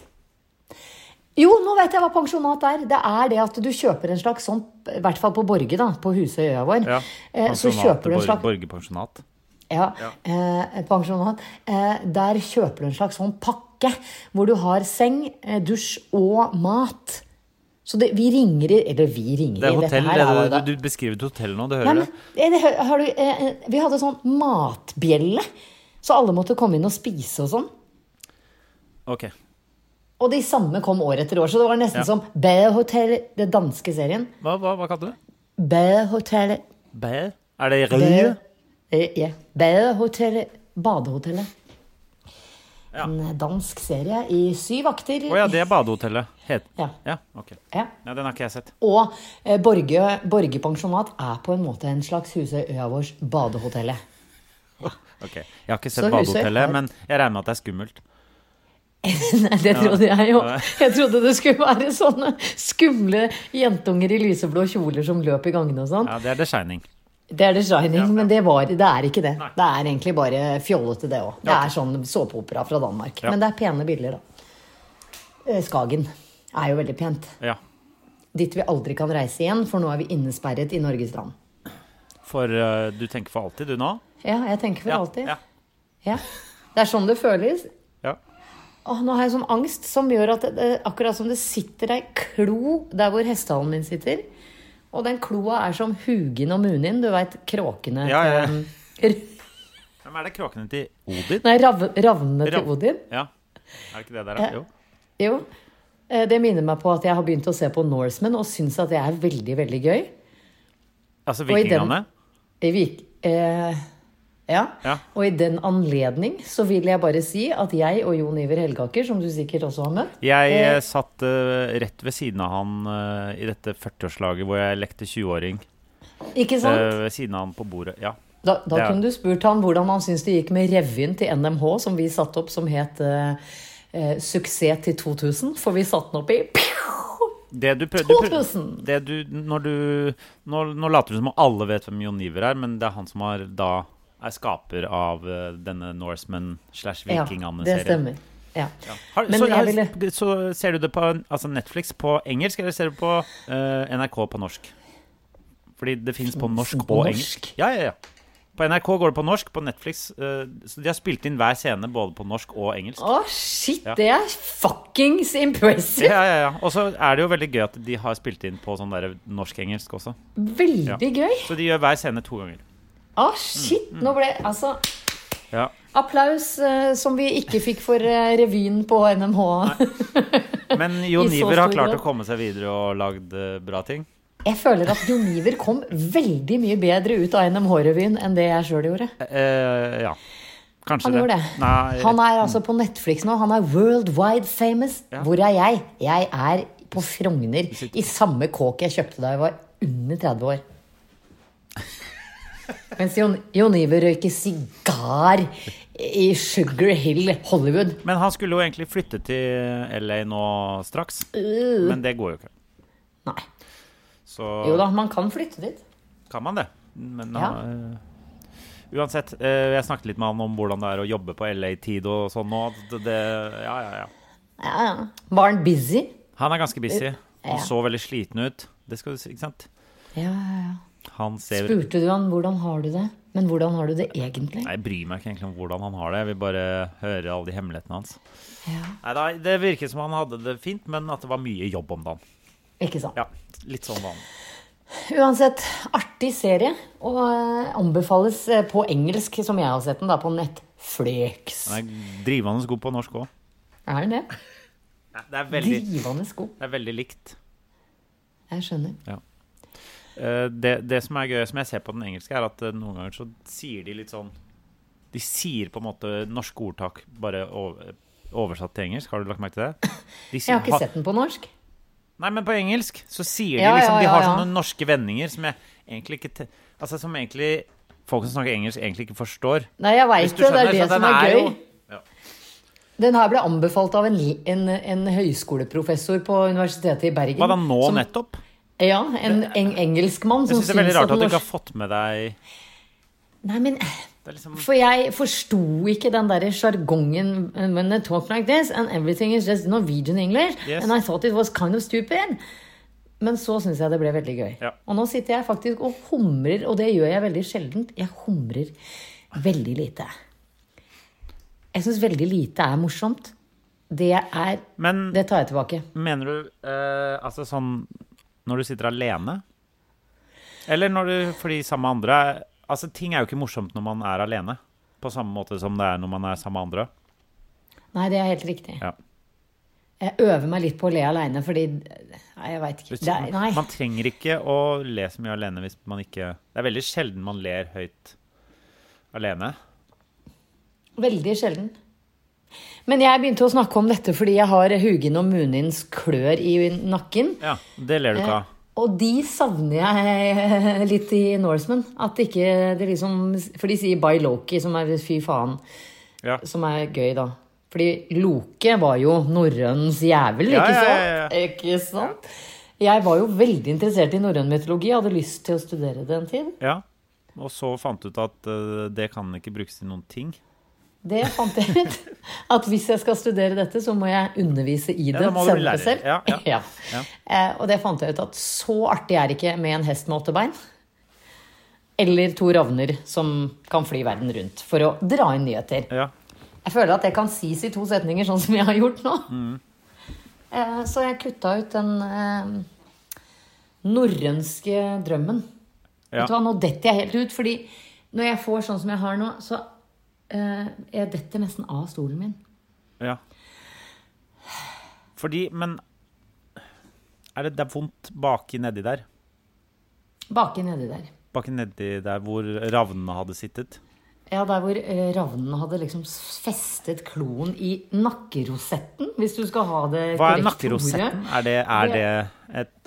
Speaker 1: Jo, nå vet jeg hva pensjonat er. Det er det at du kjøper en slags sånn, i hvert fall på Borge, da, på Husøy øya vår.
Speaker 2: ja,
Speaker 1: eh, så kjøper du en slags
Speaker 2: Borgerpensjonat.
Speaker 1: ja, eh, pensjonat. Eh, der kjøper du en slags sånn pakke hvor du har seng, eh, dusj og mat. Så det, vi ringer i Eller vi ringer
Speaker 2: Det er
Speaker 1: i
Speaker 2: hotell.
Speaker 1: dette her. er jo
Speaker 2: det,
Speaker 1: da-
Speaker 2: du, du beskriver et hotell nå, du
Speaker 1: Nei,
Speaker 2: hører
Speaker 1: men,
Speaker 2: det?
Speaker 1: eh, det, hø- har du, eh, eh, vi hadde sånn matbjelle, så alle måtte komme inn og spise og sånn.
Speaker 2: Ok.
Speaker 1: Og de samme kom år etter år, så det var nesten som Bell Hotel, den danske serien.
Speaker 2: Hva, hva, hva kalte du det?
Speaker 1: Badehotellet.
Speaker 2: Bæ? Er det
Speaker 1: Bade,
Speaker 2: rød?
Speaker 1: eh, ja. Badehotellet. Badehotellet.
Speaker 2: Ja.
Speaker 1: En dansk serie i syv akter.
Speaker 2: Å ja, det er badehotellet. Het.
Speaker 1: Ja.
Speaker 2: ja, ok.
Speaker 1: Ja.
Speaker 2: Ja, Den har ikke jeg sett.
Speaker 1: Og eh, Borge, Borge pensjonat er på en måte en slags Husøyøya vårs badehotellet.
Speaker 2: Ok, Jeg har ikke
Speaker 1: Så
Speaker 2: sett
Speaker 1: huset
Speaker 2: badehotellet,
Speaker 1: har-
Speaker 2: men jeg regner med at det er skummelt.
Speaker 1: *laughs* Nei, det trodde jeg jo.
Speaker 2: Ja.
Speaker 1: Jeg trodde det skulle være sånne skumle jentunger i lyseblå kjoler som løp i gangene og sånn.
Speaker 2: Ja, Det er The Shining.
Speaker 1: Det er The Shining, men det, var, det er ikke det. Det er egentlig bare fjollete, det òg. Det er sånn såpeopera fra Danmark.
Speaker 2: Ja.
Speaker 1: Men det er pene bilder, da. Eh, Skagen er jo veldig pent.
Speaker 2: Ja.
Speaker 1: Dit vi aldri kan reise igjen, for nå er vi innesperret i Norges land.
Speaker 2: For eh, du tenker for alltid, du nå?
Speaker 1: Ja, jeg tenker for
Speaker 2: Ja,
Speaker 1: alltid.
Speaker 2: Ja.
Speaker 1: Ja. Det er sånn det føles.
Speaker 2: ja.
Speaker 1: Åh, nå har jeg sånn angst som gjør at det, det, akkurat som det sitter ei klo der hvor hestehalen min sitter. Og den kloa er som Hugin og Munin, du veit kråkene
Speaker 2: Ja, ja, ja.
Speaker 1: til
Speaker 2: Hvem er det kråkene til Odin?
Speaker 1: *laughs* Nei, rav, ravnene til
Speaker 2: Rav-
Speaker 1: Odin.
Speaker 2: Ja. Er det ikke det der, da? Jo.
Speaker 1: Jo. Eh, Det minner meg på at jeg har begynt å se på Norsemen og syns at det er veldig, veldig gøy.
Speaker 2: Altså
Speaker 1: i den-
Speaker 2: vikingene?
Speaker 1: Jeg vik- eh, ja.
Speaker 2: Ja.
Speaker 1: Og i den anledning så vil jeg bare si at jeg og Jon Iver Helgaker, som du sikkert også har møtt
Speaker 2: Jeg eh, satt eh, rett ved siden av han eh, i dette 40-årslaget hvor jeg lekte 20-åring.
Speaker 1: Ikke sant?
Speaker 2: Eh, ved siden av han på bordet. Ja.
Speaker 1: Da, da
Speaker 2: Ja.
Speaker 1: kunne du spurt han hvordan han syntes det gikk med revyen til NMH, som vi satte opp som het eh, eh, 'Suksess til 2000', for vi satte den opp i
Speaker 2: Det du prøv, du prøv-
Speaker 1: 2000.
Speaker 2: det du, når du, nå, nå later du som om alle vet hvem Jon Iver er, men det er han som har da er skaper av eh, denne Norseman slash
Speaker 1: Ja, det
Speaker 2: Vikingane-serien.
Speaker 1: stemmer. Ja.
Speaker 2: Har-
Speaker 1: Men
Speaker 2: så,
Speaker 1: jeg
Speaker 2: har-
Speaker 1: ville-
Speaker 2: så ser du det på altså Netflix på engelsk, eller ser du på eh, NRK på norsk? Fordi det fins på norsk
Speaker 1: den
Speaker 2: og
Speaker 1: på norsk?
Speaker 2: engelsk. Ja, ja, ja. På NRK går det på norsk, på Netflix eh, Så de har spilt inn hver scene både på norsk og engelsk.
Speaker 1: Å, shit, det er fuckings impressive!
Speaker 2: Ja, ja, ja. Og så er det jo veldig gøy at de har spilt inn på sånn der norsk-engelsk også. Ja.
Speaker 1: Veldig gøy.
Speaker 2: Så de gjør hver scene to ganger.
Speaker 1: Å, Ah, shit, nå ble Altså,
Speaker 2: Ja.
Speaker 1: applaus eh, som vi ikke fikk for eh, revyen på NMH.
Speaker 2: Men
Speaker 1: *laughs*
Speaker 2: Jon
Speaker 1: I så
Speaker 2: Iver har
Speaker 1: stor
Speaker 2: klart
Speaker 1: grad.
Speaker 2: å komme seg videre og lagd eh, bra ting.
Speaker 1: Jeg føler at Jon Iver kom veldig mye bedre ut av NMH-revyen enn det jeg sjøl gjorde.
Speaker 2: Eh, ja. Kanskje
Speaker 1: Han
Speaker 2: det.
Speaker 1: gjorde det.
Speaker 2: Nei,
Speaker 1: han er altså på Netflix nå. Han er worldwide famous. Hvor er jeg? Jeg er på Frogner. I samme kåk jeg kjøpte da jeg var under 30 år. Mens Jon, Jon Iver røyker sigar i Sugar Hill, Hollywood.
Speaker 2: Men han skulle jo egentlig flytte til LA nå straks. Men det går jo ikke.
Speaker 1: Nei.
Speaker 2: Så
Speaker 1: Mm. Jo da, man kan flytte dit.
Speaker 2: kan man det. Men
Speaker 1: Ja.
Speaker 2: eh, Uansett, eh, jeg snakket litt med han om hvordan det er å jobbe på LA-tid og sånn nå. Det, det, ja, ja, ja.
Speaker 1: Ja, ja. Var han busy?
Speaker 2: Han er ganske busy.
Speaker 1: Eh, ja.
Speaker 2: Han så veldig sliten ut. Det skal du si, ikke sant?
Speaker 1: Ja, ja, ja.
Speaker 2: Han ser
Speaker 1: Spurte du han hvordan har du det? Men hvordan har du det egentlig?
Speaker 2: Nei, Jeg bryr meg ikke egentlig om hvordan han har det. Jeg vil bare høre alle de hemmelighetene hans. Nei, da, Det virket som han hadde det fint, men at det var mye jobb om dagen.
Speaker 1: Ikke sant?
Speaker 2: Ja, litt sånn vanlig.
Speaker 1: Uansett, artig serie. Og eh, anbefales eh, på engelsk, som jeg har sett den, da, på Netflix.
Speaker 2: Han er drivende god på norsk òg.
Speaker 1: Er den det?
Speaker 2: Det er veldig,
Speaker 1: Drivende god.
Speaker 2: det er veldig likt.
Speaker 1: Jeg skjønner.
Speaker 2: Eh, det, det som er gøy, som jeg ser på den engelske, er at eh, noen ganger så sier de litt sånn De sier på en måte norske ordtak bare over, oversatt til engelsk. Har du lagt merke til det? De sier-
Speaker 1: Jeg har
Speaker 2: ha-
Speaker 1: ikke sett den på norsk.
Speaker 2: Nei, men på engelsk så sier de
Speaker 1: Ja,
Speaker 2: liksom
Speaker 1: ja,
Speaker 2: De
Speaker 1: ja,
Speaker 2: har
Speaker 1: ja.
Speaker 2: sånne norske vendinger som jeg egentlig ikke te- Altså som egentlig folk som snakker engelsk, egentlig ikke forstår.
Speaker 1: Nei, jeg veit det. Det er det
Speaker 2: så den
Speaker 1: som er gøy.
Speaker 2: jo- ja.
Speaker 1: Den her ble anbefalt av en, li- en, en høyskoleprofessor på Universitetet i Bergen.
Speaker 2: Hva da nå
Speaker 1: som,
Speaker 2: nettopp?
Speaker 1: Ja, en, en engelskmann
Speaker 2: Jeg
Speaker 1: som
Speaker 2: syns det er veldig
Speaker 1: syns
Speaker 2: rart at du
Speaker 1: norsk-
Speaker 2: ikke har fått med deg
Speaker 1: Nei, men
Speaker 2: Det er liksom
Speaker 1: For jeg forsto ikke den derre sjargongen When they talk like this and everything is just Norwegian English
Speaker 2: Yes.
Speaker 1: And I thought it was kind of stupid Men så synes jeg det ble veldig gøy
Speaker 2: Ja.
Speaker 1: Og nå sitter jeg faktisk og humrer Og det gjør jeg veldig sjeldent Jeg humrer veldig lite Jeg synes veldig lite er morsomt Det er,
Speaker 2: Men-
Speaker 1: det tar jeg tilbake
Speaker 2: Mener du eh, altså sånn når du sitter alene? Eller når du fordi sammen med andre er- Altså, ting er jo ikke morsomt når man er alene. På samme måte som det er når man er sammen med andre.
Speaker 1: Nei, det er helt riktig
Speaker 2: Ja.
Speaker 1: Jeg øver meg litt på å le aleine, fordi Nei, jeg veit ikke. Det er, nei.
Speaker 2: Man trenger ikke å le så mye alene hvis man ikke Det er veldig sjelden man ler høyt alene.
Speaker 1: Veldig sjelden. Men jeg begynte å snakke om dette fordi jeg har Hugin og Munins klør i nakken.
Speaker 2: Ja, Det ler du ikke av.
Speaker 1: Og de savner jeg *laughs* litt i Norseman. At ikke det liksom For de sier 'by Loki', som er fy faen.
Speaker 2: Ja.
Speaker 1: Som er gøy, da. Fordi Loke var jo norrøns jævel,
Speaker 2: Ja,
Speaker 1: ikke
Speaker 2: ja,
Speaker 1: sant?
Speaker 2: ja,
Speaker 1: Ikke sant? Jeg var jo veldig interessert i norrøn mytologi. Jeg hadde lyst til å studere det en tid.
Speaker 2: ja. Og så fant du ut at eh, det kan ikke brukes til noen ting.
Speaker 1: Det fant jeg ut. At hvis jeg skal studere dette, så må jeg undervise i det.
Speaker 2: da må du bli
Speaker 1: selv.
Speaker 2: lærer.
Speaker 1: selv.
Speaker 2: Ja, ja. Ja.
Speaker 1: Eh, og det fant jeg ut at så artig er det ikke med en hest med åtte bein. Eller to ravner som kan fly verden rundt for å dra inn nyheter.
Speaker 2: Ja.
Speaker 1: Jeg føler at det kan sies i to setninger, sånn som jeg har gjort nå.
Speaker 2: Mm.
Speaker 1: Eh, så jeg kutta ut den eh, norrønske drømmen.
Speaker 2: Ja.
Speaker 1: Vet du hva, Nå detter jeg helt ut, fordi når jeg får sånn som jeg har nå, så eh, Jeg detter nesten av stolen min.
Speaker 2: ja. Fordi Men er det, det er vondt baki nedi der?
Speaker 1: Baki nedi der.
Speaker 2: Baki nedi der hvor ravnene hadde sittet?
Speaker 1: Ja, der hvor eh, ravnen hadde liksom festet kloen i nakkerosetten, hvis du skal ha det
Speaker 2: Hva er
Speaker 1: korrekte
Speaker 2: nakkerosetten?
Speaker 1: ordet.
Speaker 2: Er det, er det et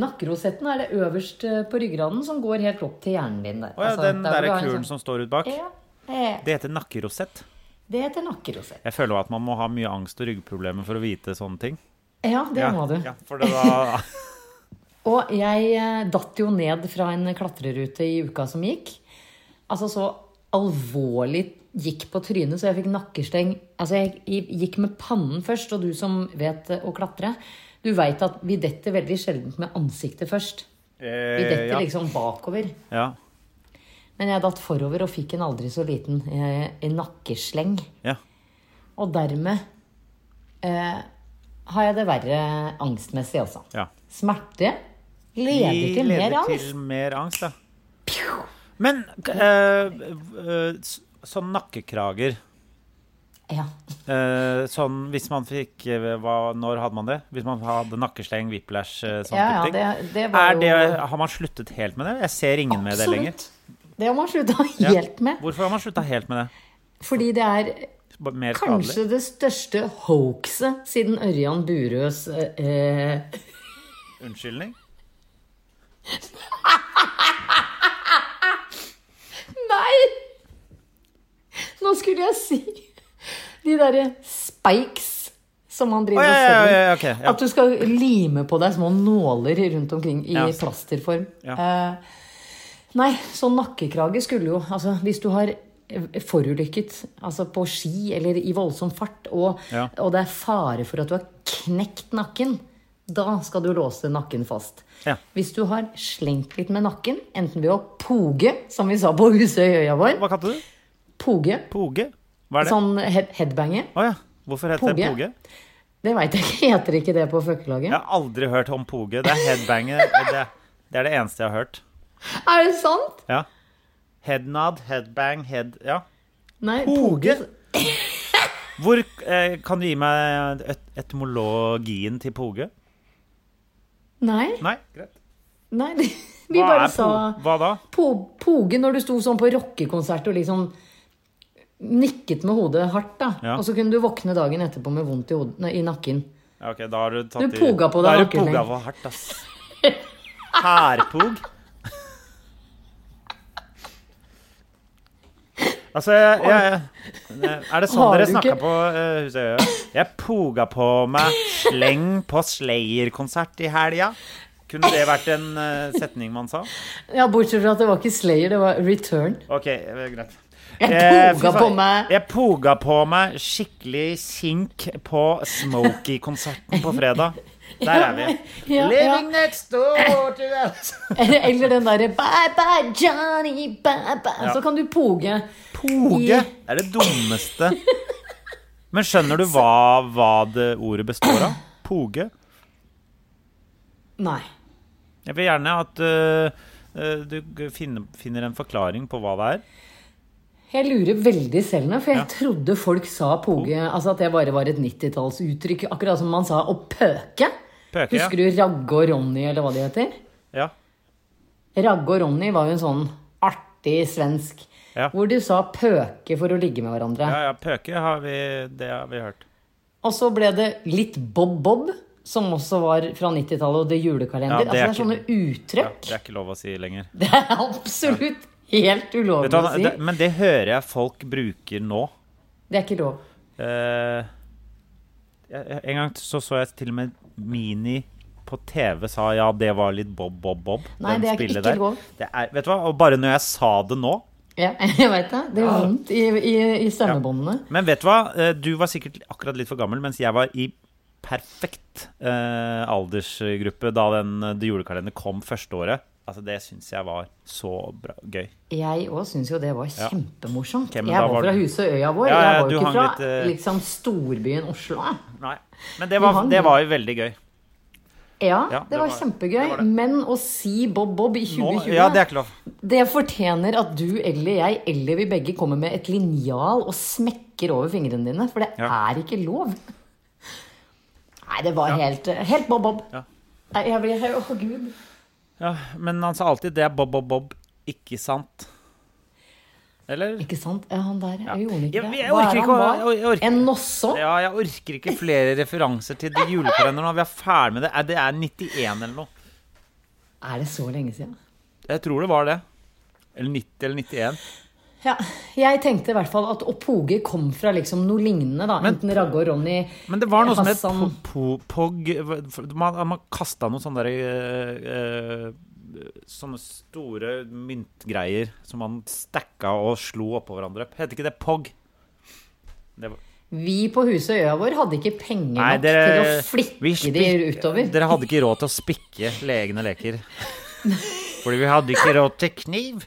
Speaker 1: Nakkerosetten er det øverst eh, på ryggraden som går helt opp til hjernen din der.
Speaker 2: Å ja,
Speaker 1: Altså,
Speaker 2: den
Speaker 1: hvor
Speaker 2: der
Speaker 1: du har en
Speaker 2: kulen
Speaker 1: sånn-
Speaker 2: som står ut bak?
Speaker 1: ja, eh,
Speaker 2: Det heter nakkerosett.
Speaker 1: Det heter nakkerosett.
Speaker 2: Jeg føler at man må ha mye angst og ryggproblemer for å vite sånne ting.
Speaker 1: Ja, det
Speaker 2: ja,
Speaker 1: må du.
Speaker 2: Ja, for det da
Speaker 1: *laughs* Og jeg eh, datt jo ned fra en klatrerute i uka som gikk. Altså så alvorlig gikk på trynet, så jeg fikk nakkesteng. Altså jeg gikk med pannen først, og du som vet eh, å klatre, du veit at vi detter veldig sjelden med ansiktet først. Vi
Speaker 2: eh,
Speaker 1: detter
Speaker 2: ja.
Speaker 1: liksom bakover.
Speaker 2: ja.
Speaker 1: Men jeg datt forover og fikk en aldri så liten eh, en nakkesleng.
Speaker 2: ja.
Speaker 1: Og dermed eh, har jeg det verre angstmessig, altså.
Speaker 2: Ja.
Speaker 1: Smerte leder
Speaker 2: Vi
Speaker 1: til mer
Speaker 2: leder
Speaker 1: angst.
Speaker 2: Til mer angst ja. Men k- eh, eh, s- sånn nakkekrager
Speaker 1: Ja.
Speaker 2: eh, Sånn hvis man fikk eh, hva, Når hadde man det? Hvis man hadde nakkesleng, whiplash, eh, sånn
Speaker 1: Ja,
Speaker 2: type ting?
Speaker 1: ja, det- det var
Speaker 2: er det,
Speaker 1: jo-
Speaker 2: Har man sluttet helt med det? Jeg ser ingen med det lenger.
Speaker 1: Det har man slutta
Speaker 2: Ja.
Speaker 1: helt med.
Speaker 2: Hvorfor har man slutta helt med det?
Speaker 1: Fordi det er
Speaker 2: B- Mer skadelig?
Speaker 1: kanskje det største hoaxet siden Ørjan Burøes eh, eh,
Speaker 2: Unnskyldning?
Speaker 1: Nei! Nå skulle jeg si de derre spikes som han driver og
Speaker 2: Å, ja, ja,
Speaker 1: selger.
Speaker 2: ja, ja, ok, ja.
Speaker 1: At du skal lime på deg små nåler rundt omkring i
Speaker 2: Ja.
Speaker 1: plasterform.
Speaker 2: Ja.
Speaker 1: Eh, nei, så nakkekrage skulle jo Altså, hvis du har eh, forulykket altså på ski eller i voldsom fart, og,
Speaker 2: Ja.
Speaker 1: og det er fare for at du har knekt nakken, da skal du låse nakken fast.
Speaker 2: Ja.
Speaker 1: Hvis du har slengt litt med nakken, enten ved å poge, som vi sa på Husøyøya vår
Speaker 2: Hva kalte du det?
Speaker 1: Poge.
Speaker 2: Poge? Hva er det? Å
Speaker 1: Sånn head headbange.
Speaker 2: ja. Hvorfor heter det poge?
Speaker 1: Poge. Det veit jeg ikke. Heter ikke det på føkkelaget?
Speaker 2: Jeg har aldri hørt om poge. Det er headbanger. Det, det er det eneste jeg har hørt.
Speaker 1: Er det sant?
Speaker 2: Ja. Headnod, headbang, head... Ja.
Speaker 1: Nei,
Speaker 2: Poge. Hvor eh, Kan du gi meg et, etymologien til poge?
Speaker 1: Nei,
Speaker 2: Nei? Greit.
Speaker 1: nei. *laughs* Vi
Speaker 2: Hva
Speaker 1: bare
Speaker 2: er
Speaker 1: sa
Speaker 2: poge? Hva da?
Speaker 1: po Poge når du sto sånn på rockekonsert og liksom nikket med hodet hardt, da.
Speaker 2: Ja.
Speaker 1: Og så kunne du våkne dagen etterpå med vondt i, hodet, nei, i nakken.
Speaker 2: Ja, ok, da har du tatt
Speaker 1: Du poga på deg
Speaker 2: Da har du
Speaker 1: nakken
Speaker 2: poga
Speaker 1: din.
Speaker 2: for hardt, ass. Hærpog. Altså, jeg, jeg, er det sånn
Speaker 1: Har
Speaker 2: dere
Speaker 1: du
Speaker 2: snakka
Speaker 1: ikke-
Speaker 2: på eh, Husøya? Jeg poga på meg sleng på Slayer-konsert i helga. Kunne det vært en eh, setning man sa?
Speaker 1: Ja, bortsett fra at det var ikke Slayer, det var Return. *laughs*
Speaker 2: OK, eh, greit.
Speaker 1: Jeg
Speaker 2: Eh,
Speaker 1: poga
Speaker 2: fy faen,
Speaker 1: på meg.
Speaker 2: Jeg poga på meg skikkelig kink på Smokey-konserten på fredag. Der er vi.
Speaker 1: *laughs* Ja, ja.
Speaker 2: Living next door to
Speaker 1: *laughs*
Speaker 2: us.
Speaker 1: Eller den derre Bye bye, Johnny, bye bye.
Speaker 2: Ja.
Speaker 1: Så kan du poge.
Speaker 2: Poge er det dummeste. Men skjønner du hva, hva det ordet består av? Poge.
Speaker 1: Nei.
Speaker 2: Jeg vil eh, gjerne at øh, øh, du g- finner, finner en forklaring på hva det er.
Speaker 1: Jeg lurer veldig selv nå, for jeg trodde folk sa poge
Speaker 2: Oh.
Speaker 1: Altså at det bare var et 90-tallsuttrykk. Akkurat som man sa å pøke.
Speaker 2: Pøke, ja.
Speaker 1: Husker du Ragge og Ronny, eller hva de heter?
Speaker 2: Ja.
Speaker 1: Ragge og Ronny var jo en sånn artig svensk
Speaker 2: Ja.
Speaker 1: hvor du sa pøke for å ligge med hverandre.
Speaker 2: ja, ja. Pøke har vi, det har vi hørt.
Speaker 1: Og så ble det litt bob-bob, som også var fra 90-tallet, og det
Speaker 2: Ja,
Speaker 1: julekalender.
Speaker 2: det
Speaker 1: altså det
Speaker 2: er
Speaker 1: er sånne
Speaker 2: Ja,
Speaker 1: uttrykk.
Speaker 2: det er ikke lov å si lenger.
Speaker 1: *laughs* Det er absolutt helt
Speaker 2: Vet
Speaker 1: ulovlig
Speaker 2: du,
Speaker 1: å
Speaker 2: hva,
Speaker 1: si.
Speaker 2: det, men det hører jeg folk bruker nå.
Speaker 1: Det er ikke lov.
Speaker 2: Eh, jeg- en gang så så jeg til og med Mini på TV sa ja, det var litt Bob Bob Bob.
Speaker 1: Nei,
Speaker 2: den
Speaker 1: det er
Speaker 2: spillet
Speaker 1: ikke
Speaker 2: der.
Speaker 1: lov.
Speaker 2: Det er, vet du hva, og bare når jeg sa det nå
Speaker 1: Ja, *laughs* jeg veit det. Det gjør vondt i, i, i stemmebåndene.
Speaker 2: Men vet du hva, Eh, du var sikkert akkurat litt for gammel, mens jeg var i perfekt eh, aldersgruppe da den eh, The julekalender kom første året. Altså, det syns jeg var så bra, gøy.
Speaker 1: Jeg òg syns jo det var kjempemorsomt.
Speaker 2: Ok, men da
Speaker 1: jeg
Speaker 2: var
Speaker 1: var fra
Speaker 2: du-
Speaker 1: huset og øya vår.
Speaker 2: Ja, ja,
Speaker 1: jeg var
Speaker 2: du
Speaker 1: jo ikke
Speaker 2: hang
Speaker 1: fra
Speaker 2: litt, eh,
Speaker 1: liksom storbyen Oslo. jeg.
Speaker 2: Nei. Men det
Speaker 1: Vi
Speaker 2: var,
Speaker 1: hang.
Speaker 2: det var jo veldig gøy.
Speaker 1: Ja,
Speaker 2: Ja,
Speaker 1: det, var, kjempegøy.
Speaker 2: det var det.
Speaker 1: Men å si Bob Bob i 2020
Speaker 2: Nå, ja, det er ikke lov.
Speaker 1: det fortjener at du eller jeg eller vi begge kommer med et linjal og smekker over fingrene dine. For det
Speaker 2: Ja.
Speaker 1: er ikke lov. Nei, det var helt, helt Bob Bob.
Speaker 2: Ja.
Speaker 1: Nei, Jeg blir Å, gud.
Speaker 2: Ja, men han sa alltid det er Bob Bob Bob, ikke sant? Eller?
Speaker 1: Ikke sant? Ja, Han der jeg gjorde ikke
Speaker 2: Jeg-
Speaker 1: det.
Speaker 2: jeg
Speaker 1: Hva
Speaker 2: orker
Speaker 1: er det han
Speaker 2: ikke å-
Speaker 1: var?
Speaker 2: jeg- jeg orker-
Speaker 1: En nosso?
Speaker 2: Ja, jeg orker ikke flere referanser til de julekalenderen når vi er ferdig med det. Er- Det er 91 eller noe.
Speaker 1: Er det så lenge siden?
Speaker 2: Jeg tror det var det. Eller 90 eller 91.
Speaker 1: Ja, jeg tenkte i hvert fall at Opoge kom fra liksom noe lignende, da. Enten Ragge og Ronny, Altså,
Speaker 2: Men det var noe som het
Speaker 1: Hassan
Speaker 2: po- po- Pog for- Man, man kasta noen sånne derre Sånne store myntgreier som man stacka og slo oppå hverandre. Heter ikke det Pog? Det var
Speaker 1: Vi på huset og øya vår hadde ikke penger nok til å
Speaker 2: vi
Speaker 1: flikke
Speaker 2: spik-
Speaker 1: de utover. *laughs*
Speaker 2: Dere hadde ikke råd til å spikke legne leker. Fordi vi hadde ikke råd til kniv.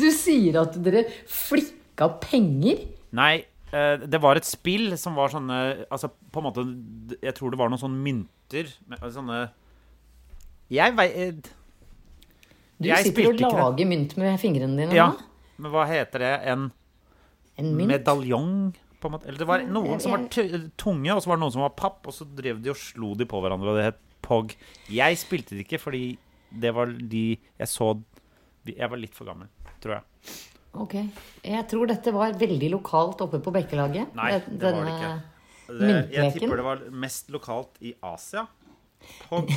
Speaker 1: Du sier at dere flikka penger?
Speaker 2: Nei, eh, det var et spill som var sånne Altså, på en måte Jeg tror det var noen sånne mynter med- Sånne Jeg eh, veit
Speaker 1: Du
Speaker 2: Jeg
Speaker 1: sitter og
Speaker 2: spilte ikke det.
Speaker 1: lager mynt med fingrene dine
Speaker 2: Ja.
Speaker 1: nå?
Speaker 2: Men hva heter det? En
Speaker 1: En mynt?
Speaker 2: medaljong? På en måte. Eller det var noen som var tu- tunge, og så var det noen som var papp, og så drev de og slo de på hverandre, og det het POG. Jeg spilte det ikke fordi det var de jeg så Jeg var litt for gammel, tror jeg.
Speaker 1: Ok. Jeg tror dette var veldig lokalt oppe på Bekkelaget.
Speaker 2: Nei,
Speaker 1: Den-
Speaker 2: det var det
Speaker 1: denne-
Speaker 2: ikke. Det, jeg
Speaker 1: myntleken.
Speaker 2: tipper det var mest lokalt i Asia. Pog,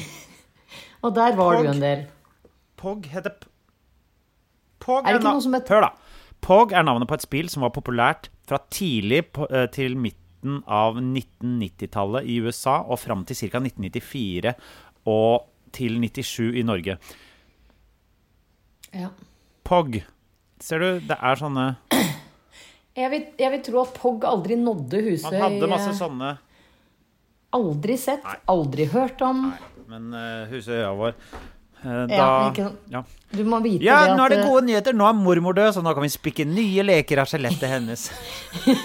Speaker 1: Og der var
Speaker 2: Pog.
Speaker 1: du en del.
Speaker 2: Pog heter p- Pog
Speaker 1: Er det ikke
Speaker 2: na-
Speaker 1: noe som heter-
Speaker 2: Hør, da. Pog er navnet på et spill som var populært fra tidlig på, eh, til midten av 1990-tallet i USA og fram til ca. 1994 og til 97 i Norge.
Speaker 1: Ja.
Speaker 2: Pog. Ser du, det er sånne
Speaker 1: Jeg vil, jeg vil tro at Pog aldri nådde eh, huset
Speaker 2: Man hadde masse
Speaker 1: i-
Speaker 2: sånne,
Speaker 1: Aldri sett, aldri hørt om.
Speaker 2: men uh, huset i øya vår eh, Da
Speaker 1: Ja, ikke sant.
Speaker 2: ja.
Speaker 1: Du må vite
Speaker 2: Ja,
Speaker 1: det at eh,
Speaker 2: nå er det gode nyheter. Nå er mormor død, så nå kan vi spikke nye leker av skjelettet hennes. *laughs*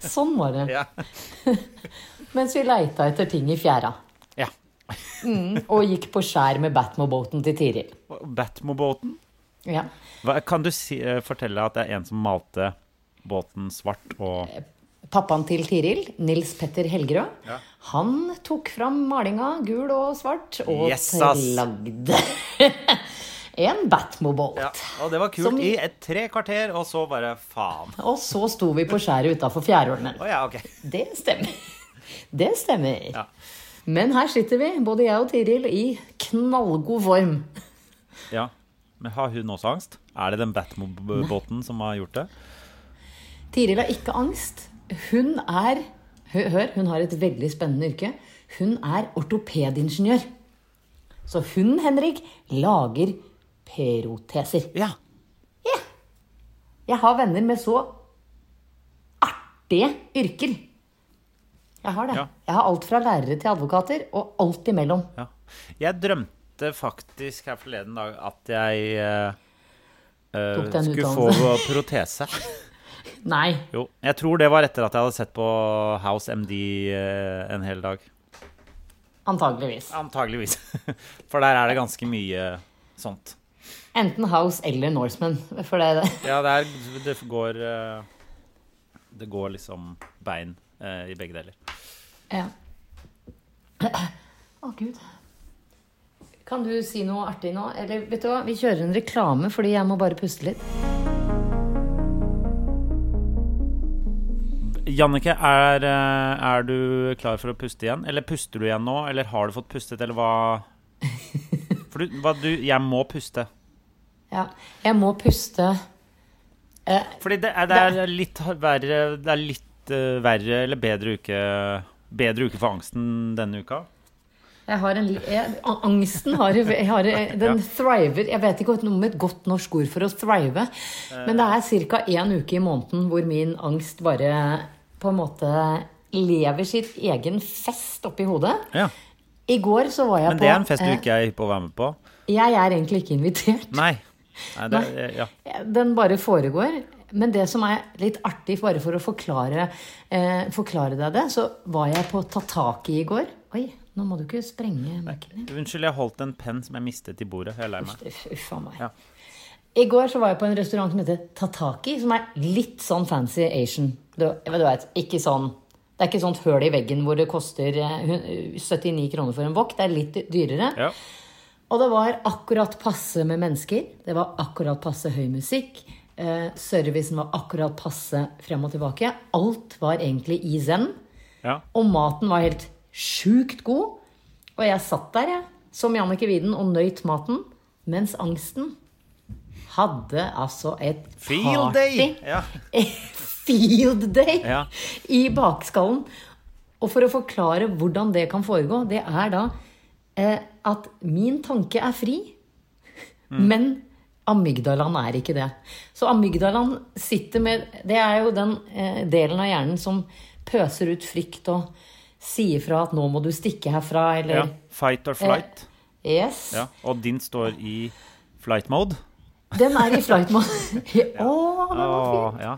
Speaker 1: Sånn var det.
Speaker 2: Ja.
Speaker 1: Mens vi leita etter ting i fjæra. *laughs* Mm,
Speaker 2: ja.
Speaker 1: Og gikk på skjær med Batmo-båten til Tiril.
Speaker 2: Batmobåten?
Speaker 1: Ja.
Speaker 2: Hva- Kan du si, eh, fortelle at det er en som malte båten svart og
Speaker 1: Eh, Pappaen til Tiril, Nils Petter Helgerød, han tok fram malinga gul og svart og
Speaker 2: Yes, ass.
Speaker 1: lagde *laughs* en Batmo-båt.
Speaker 2: ja. Og det var kult
Speaker 1: Som-
Speaker 2: i et tre kvarter, og så bare faen.
Speaker 1: Og så sto vi på skjæret utafor fjærhulene.
Speaker 2: Å ja, ok.
Speaker 1: Det stemmer. Det stemmer.
Speaker 2: Ja.
Speaker 1: Men her sitter vi, både jeg og Tiril, i knallgod form.
Speaker 2: *laughs* Ja. Men har hun også angst? Er det den Batmobåten som har gjort det?
Speaker 1: Tiril har ikke angst. Hun er hø- Hør, hun har et veldig spennende yrke. Hun er ortopedingeniør. Så hun, Henrik, lager peroteser.
Speaker 2: Ja.
Speaker 1: Jeg har venner med så artige yrker. Jeg har det.
Speaker 2: Ja.
Speaker 1: Jeg har alt fra lærere til advokater, og alt imellom.
Speaker 2: ja. Jeg drømte faktisk her forleden dag at jeg eh, eh,
Speaker 1: Tok deg en
Speaker 2: skulle få
Speaker 1: utdannelse.
Speaker 2: protese.
Speaker 1: Nei,
Speaker 2: Jo, jeg tror det var etter at jeg hadde sett på House MD eh, en hel dag.
Speaker 1: antageligvis.
Speaker 2: *laughs* Antageligvis. For der er det ganske mye sånt.
Speaker 1: Enten House eller Norseman. For det,
Speaker 2: Ja, det, er, det går eh, Det går liksom bein eh, i begge deler.
Speaker 1: Ja. Å, gud. Kan du si noe artig nå? Eller vet du hva, vi kjører en reklame fordi jeg må bare puste litt.
Speaker 2: Jannicke, er, eh, er du klar for å puste igjen? Eller puster du igjen nå? Eller har du fått pustet, eller hva? *laughs* For du, hva, du Jeg må puste.
Speaker 1: Ja. Jeg må puste. Eh,
Speaker 2: Fordi det er, det er litt verre Det er litt eh, verre eller bedre uke Bedre uke for angsten denne uka.
Speaker 1: Jeg har en, li- jeg, a- angsten har, jeg har eh, Den thriver Jeg vet ikke noe med et godt norsk ord for å thrive, men det er ca. én uke i måneden hvor min angst bare på en måte lever sitt egen fest oppi hodet.
Speaker 2: Ja.
Speaker 1: I går så var jeg
Speaker 2: Men
Speaker 1: på
Speaker 2: det er en fest du
Speaker 1: eh,
Speaker 2: ikke er hypp på å være med på?
Speaker 1: Jeg er egentlig ikke invitert.
Speaker 2: Nei. Nei, det, er- ja.
Speaker 1: Den bare foregår. Men det som er litt artig, bare for å forklare, eh, forklare deg det, så var jeg på Ta tak i i går. Oi, nå må du ikke sprenge mikken din.
Speaker 2: Unnskyld, jeg holdt en penn som jeg mistet i bordet. Jeg er lei meg.
Speaker 1: Uff uff a meg.
Speaker 2: Ja.
Speaker 1: I går så var jeg på en restaurant som heter Tataki, som er litt sånn fancy Asian. Du, men du vet, ikke sånn Det er ikke sånt høl i veggen hvor det koster eh, hun- 79 kroner for en wok. Det er litt dyrere.
Speaker 2: Ja.
Speaker 1: Og det var akkurat passe med mennesker. Det var akkurat passe høy musikk. Eh, servicen var akkurat passe frem og tilbake. Alt var egentlig i zen.
Speaker 2: Ja.
Speaker 1: Og maten var helt sjukt god. Og jeg satt der, jeg, som Jannicke Wieden, og nøyt maten. Mens angsten hadde altså et
Speaker 2: Field day! Ja.
Speaker 1: Field day
Speaker 2: Ja.
Speaker 1: i bakskallen. Og for å forklare hvordan det kan foregå, det er da eh, at min tanke er fri,
Speaker 2: Mm.
Speaker 1: men amygdalaen er ikke det. Så amygdalaen sitter med Det er jo den eh, delen av hjernen som pøser ut frykt og sier fra at 'nå må du stikke herfra', eller
Speaker 2: ja. Eh, Fight or flight.
Speaker 1: eh. Yes.
Speaker 2: Ja. Og din står i flight mode.
Speaker 1: Den er i flight
Speaker 2: *laughs*
Speaker 1: mode. Å, den var fin!
Speaker 2: Åh, Ah, ja.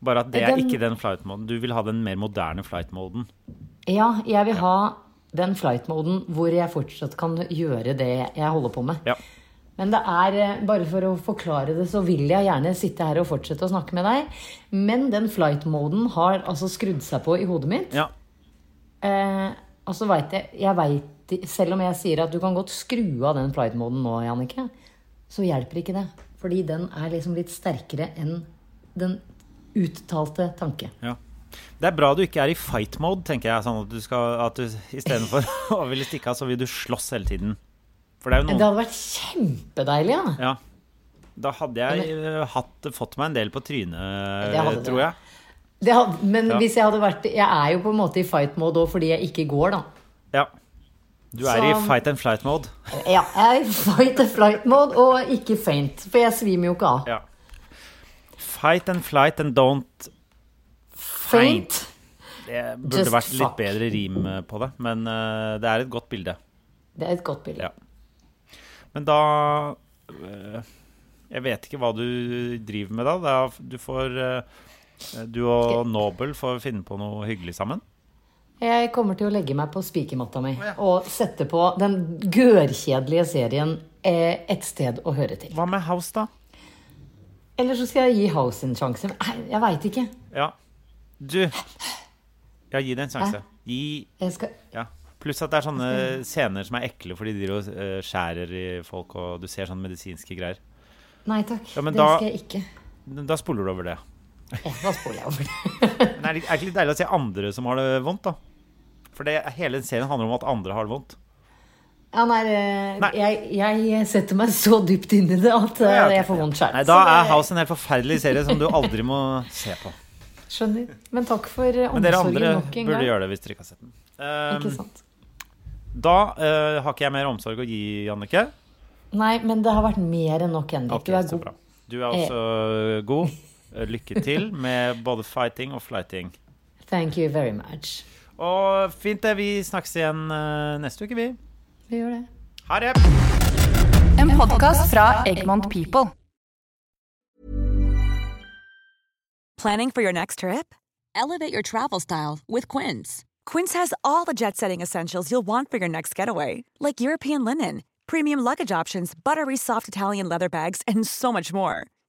Speaker 2: Bare at det er
Speaker 1: Den-
Speaker 2: ikke den flight moden. Du vil ha den mer moderne flight moden.
Speaker 1: Ja, jeg vil ha den flight-moden hvor jeg fortsatt kan gjøre det jeg holder på med.
Speaker 2: Ja.
Speaker 1: Men det er, eh, bare for å forklare det, så vil jeg gjerne sitte her og fortsette å snakke med deg. Men den flight-moden har altså skrudd seg på i hodet mitt.
Speaker 2: ja.
Speaker 1: Eh, og så veit jeg, jeg vet, Selv om jeg sier at du kan godt skru av den flight-moden nå, Jannicke, så hjelper ikke det. Fordi den er liksom litt sterkere enn den uttalte tanke.
Speaker 2: ja. Det er bra du ikke er i fight mode, tenker jeg. Sånn at du skal At du istedenfor *laughs* å ville stikke av, så vil du slåss hele tiden. For det er jo
Speaker 1: Det
Speaker 2: noen
Speaker 1: hadde vært kjempedeilig, ja.
Speaker 2: Ja. Da hadde jeg eh, hatt, fått meg en del på trynet,
Speaker 1: Det hadde du.
Speaker 2: tror jeg.
Speaker 1: Det had- men
Speaker 2: Ja.
Speaker 1: hvis jeg hadde vært Jeg er jo på en måte i fight mode òg fordi jeg ikke går, da.
Speaker 2: Ja. Du er i
Speaker 1: Så-
Speaker 2: fight and flight mode.
Speaker 1: Ja, jeg er i fight and flight mode og ikke faint. For jeg svimer jo ikke av.
Speaker 2: Ja. Fight and flight and don't
Speaker 1: Faint.
Speaker 2: Det burde
Speaker 1: Just
Speaker 2: vært litt
Speaker 1: fuck.
Speaker 2: bedre rim eh, på det, men eh, det er et godt bilde.
Speaker 1: Det er et godt bilde.
Speaker 2: Ja. Men da øh, Jeg vet ikke hva du driver med da. da du får øh, Du og Nobel får finne på noe hyggelig sammen.
Speaker 1: Jeg kommer til å legge meg på spikermatta mi og sette på den gørrkjedelige serien eh, Et sted å høre til.
Speaker 2: Hva med House, da?
Speaker 1: Eller så skal jeg gi House en sjanse. Nei, jeg veit ikke.
Speaker 2: Ja. Du Ja, gi det en sjanse. Gi
Speaker 1: Jeg skal
Speaker 2: Ja. Pluss at det er sånne scener som er ekle fordi de driver og øh, skjærer i folk, og du ser sånne medisinske greier.
Speaker 1: Nei takk.
Speaker 2: Ja, men
Speaker 1: det
Speaker 2: da-
Speaker 1: skal jeg ikke.
Speaker 2: Da spoler du over det.
Speaker 1: Ja, da spoler jeg over det.
Speaker 2: Men er det er det ikke litt deilig å se andre som har det vondt, da? For det, hele den serien handler om at andre har det vondt.
Speaker 1: Ja, nei, eh,
Speaker 2: Nei.
Speaker 1: Jeg, jeg setter meg så dypt inn i det at eh,
Speaker 2: Ja, ok.
Speaker 1: jeg får vondt sjøl.
Speaker 2: Nei, Da er House en helt forferdelig serie som du aldri må se på.
Speaker 1: Skjønner. Men takk for eh,
Speaker 2: Men dere
Speaker 1: omsorgen
Speaker 2: andre
Speaker 1: nok en
Speaker 2: burde
Speaker 1: gang.
Speaker 2: gjøre det hvis dere ikke har sett den. Ehm,
Speaker 1: Ikke sant?
Speaker 2: da eh, har ikke jeg mer omsorg å gi, Jannicke.
Speaker 1: Nei, men det har vært mer enn nok, Henrik.
Speaker 2: Ok,
Speaker 1: du er
Speaker 2: så
Speaker 1: god.
Speaker 2: bra. Du er også god. Eh, Lykke til med både fighting og flighting.
Speaker 1: Thank you very much.
Speaker 2: Og fint det, vi snakkes igjen eh, neste uke, vi.
Speaker 1: Vi gjør det.
Speaker 2: Ha det!
Speaker 5: En podkast fra Egmont People.
Speaker 6: Planning for your next trip? Elevate your travel style with Quince. Quince has all the jet setting essentials you'll want for your next getaway, like European linen, premium luggage options, buttery soft Italian leather bags, and so much more.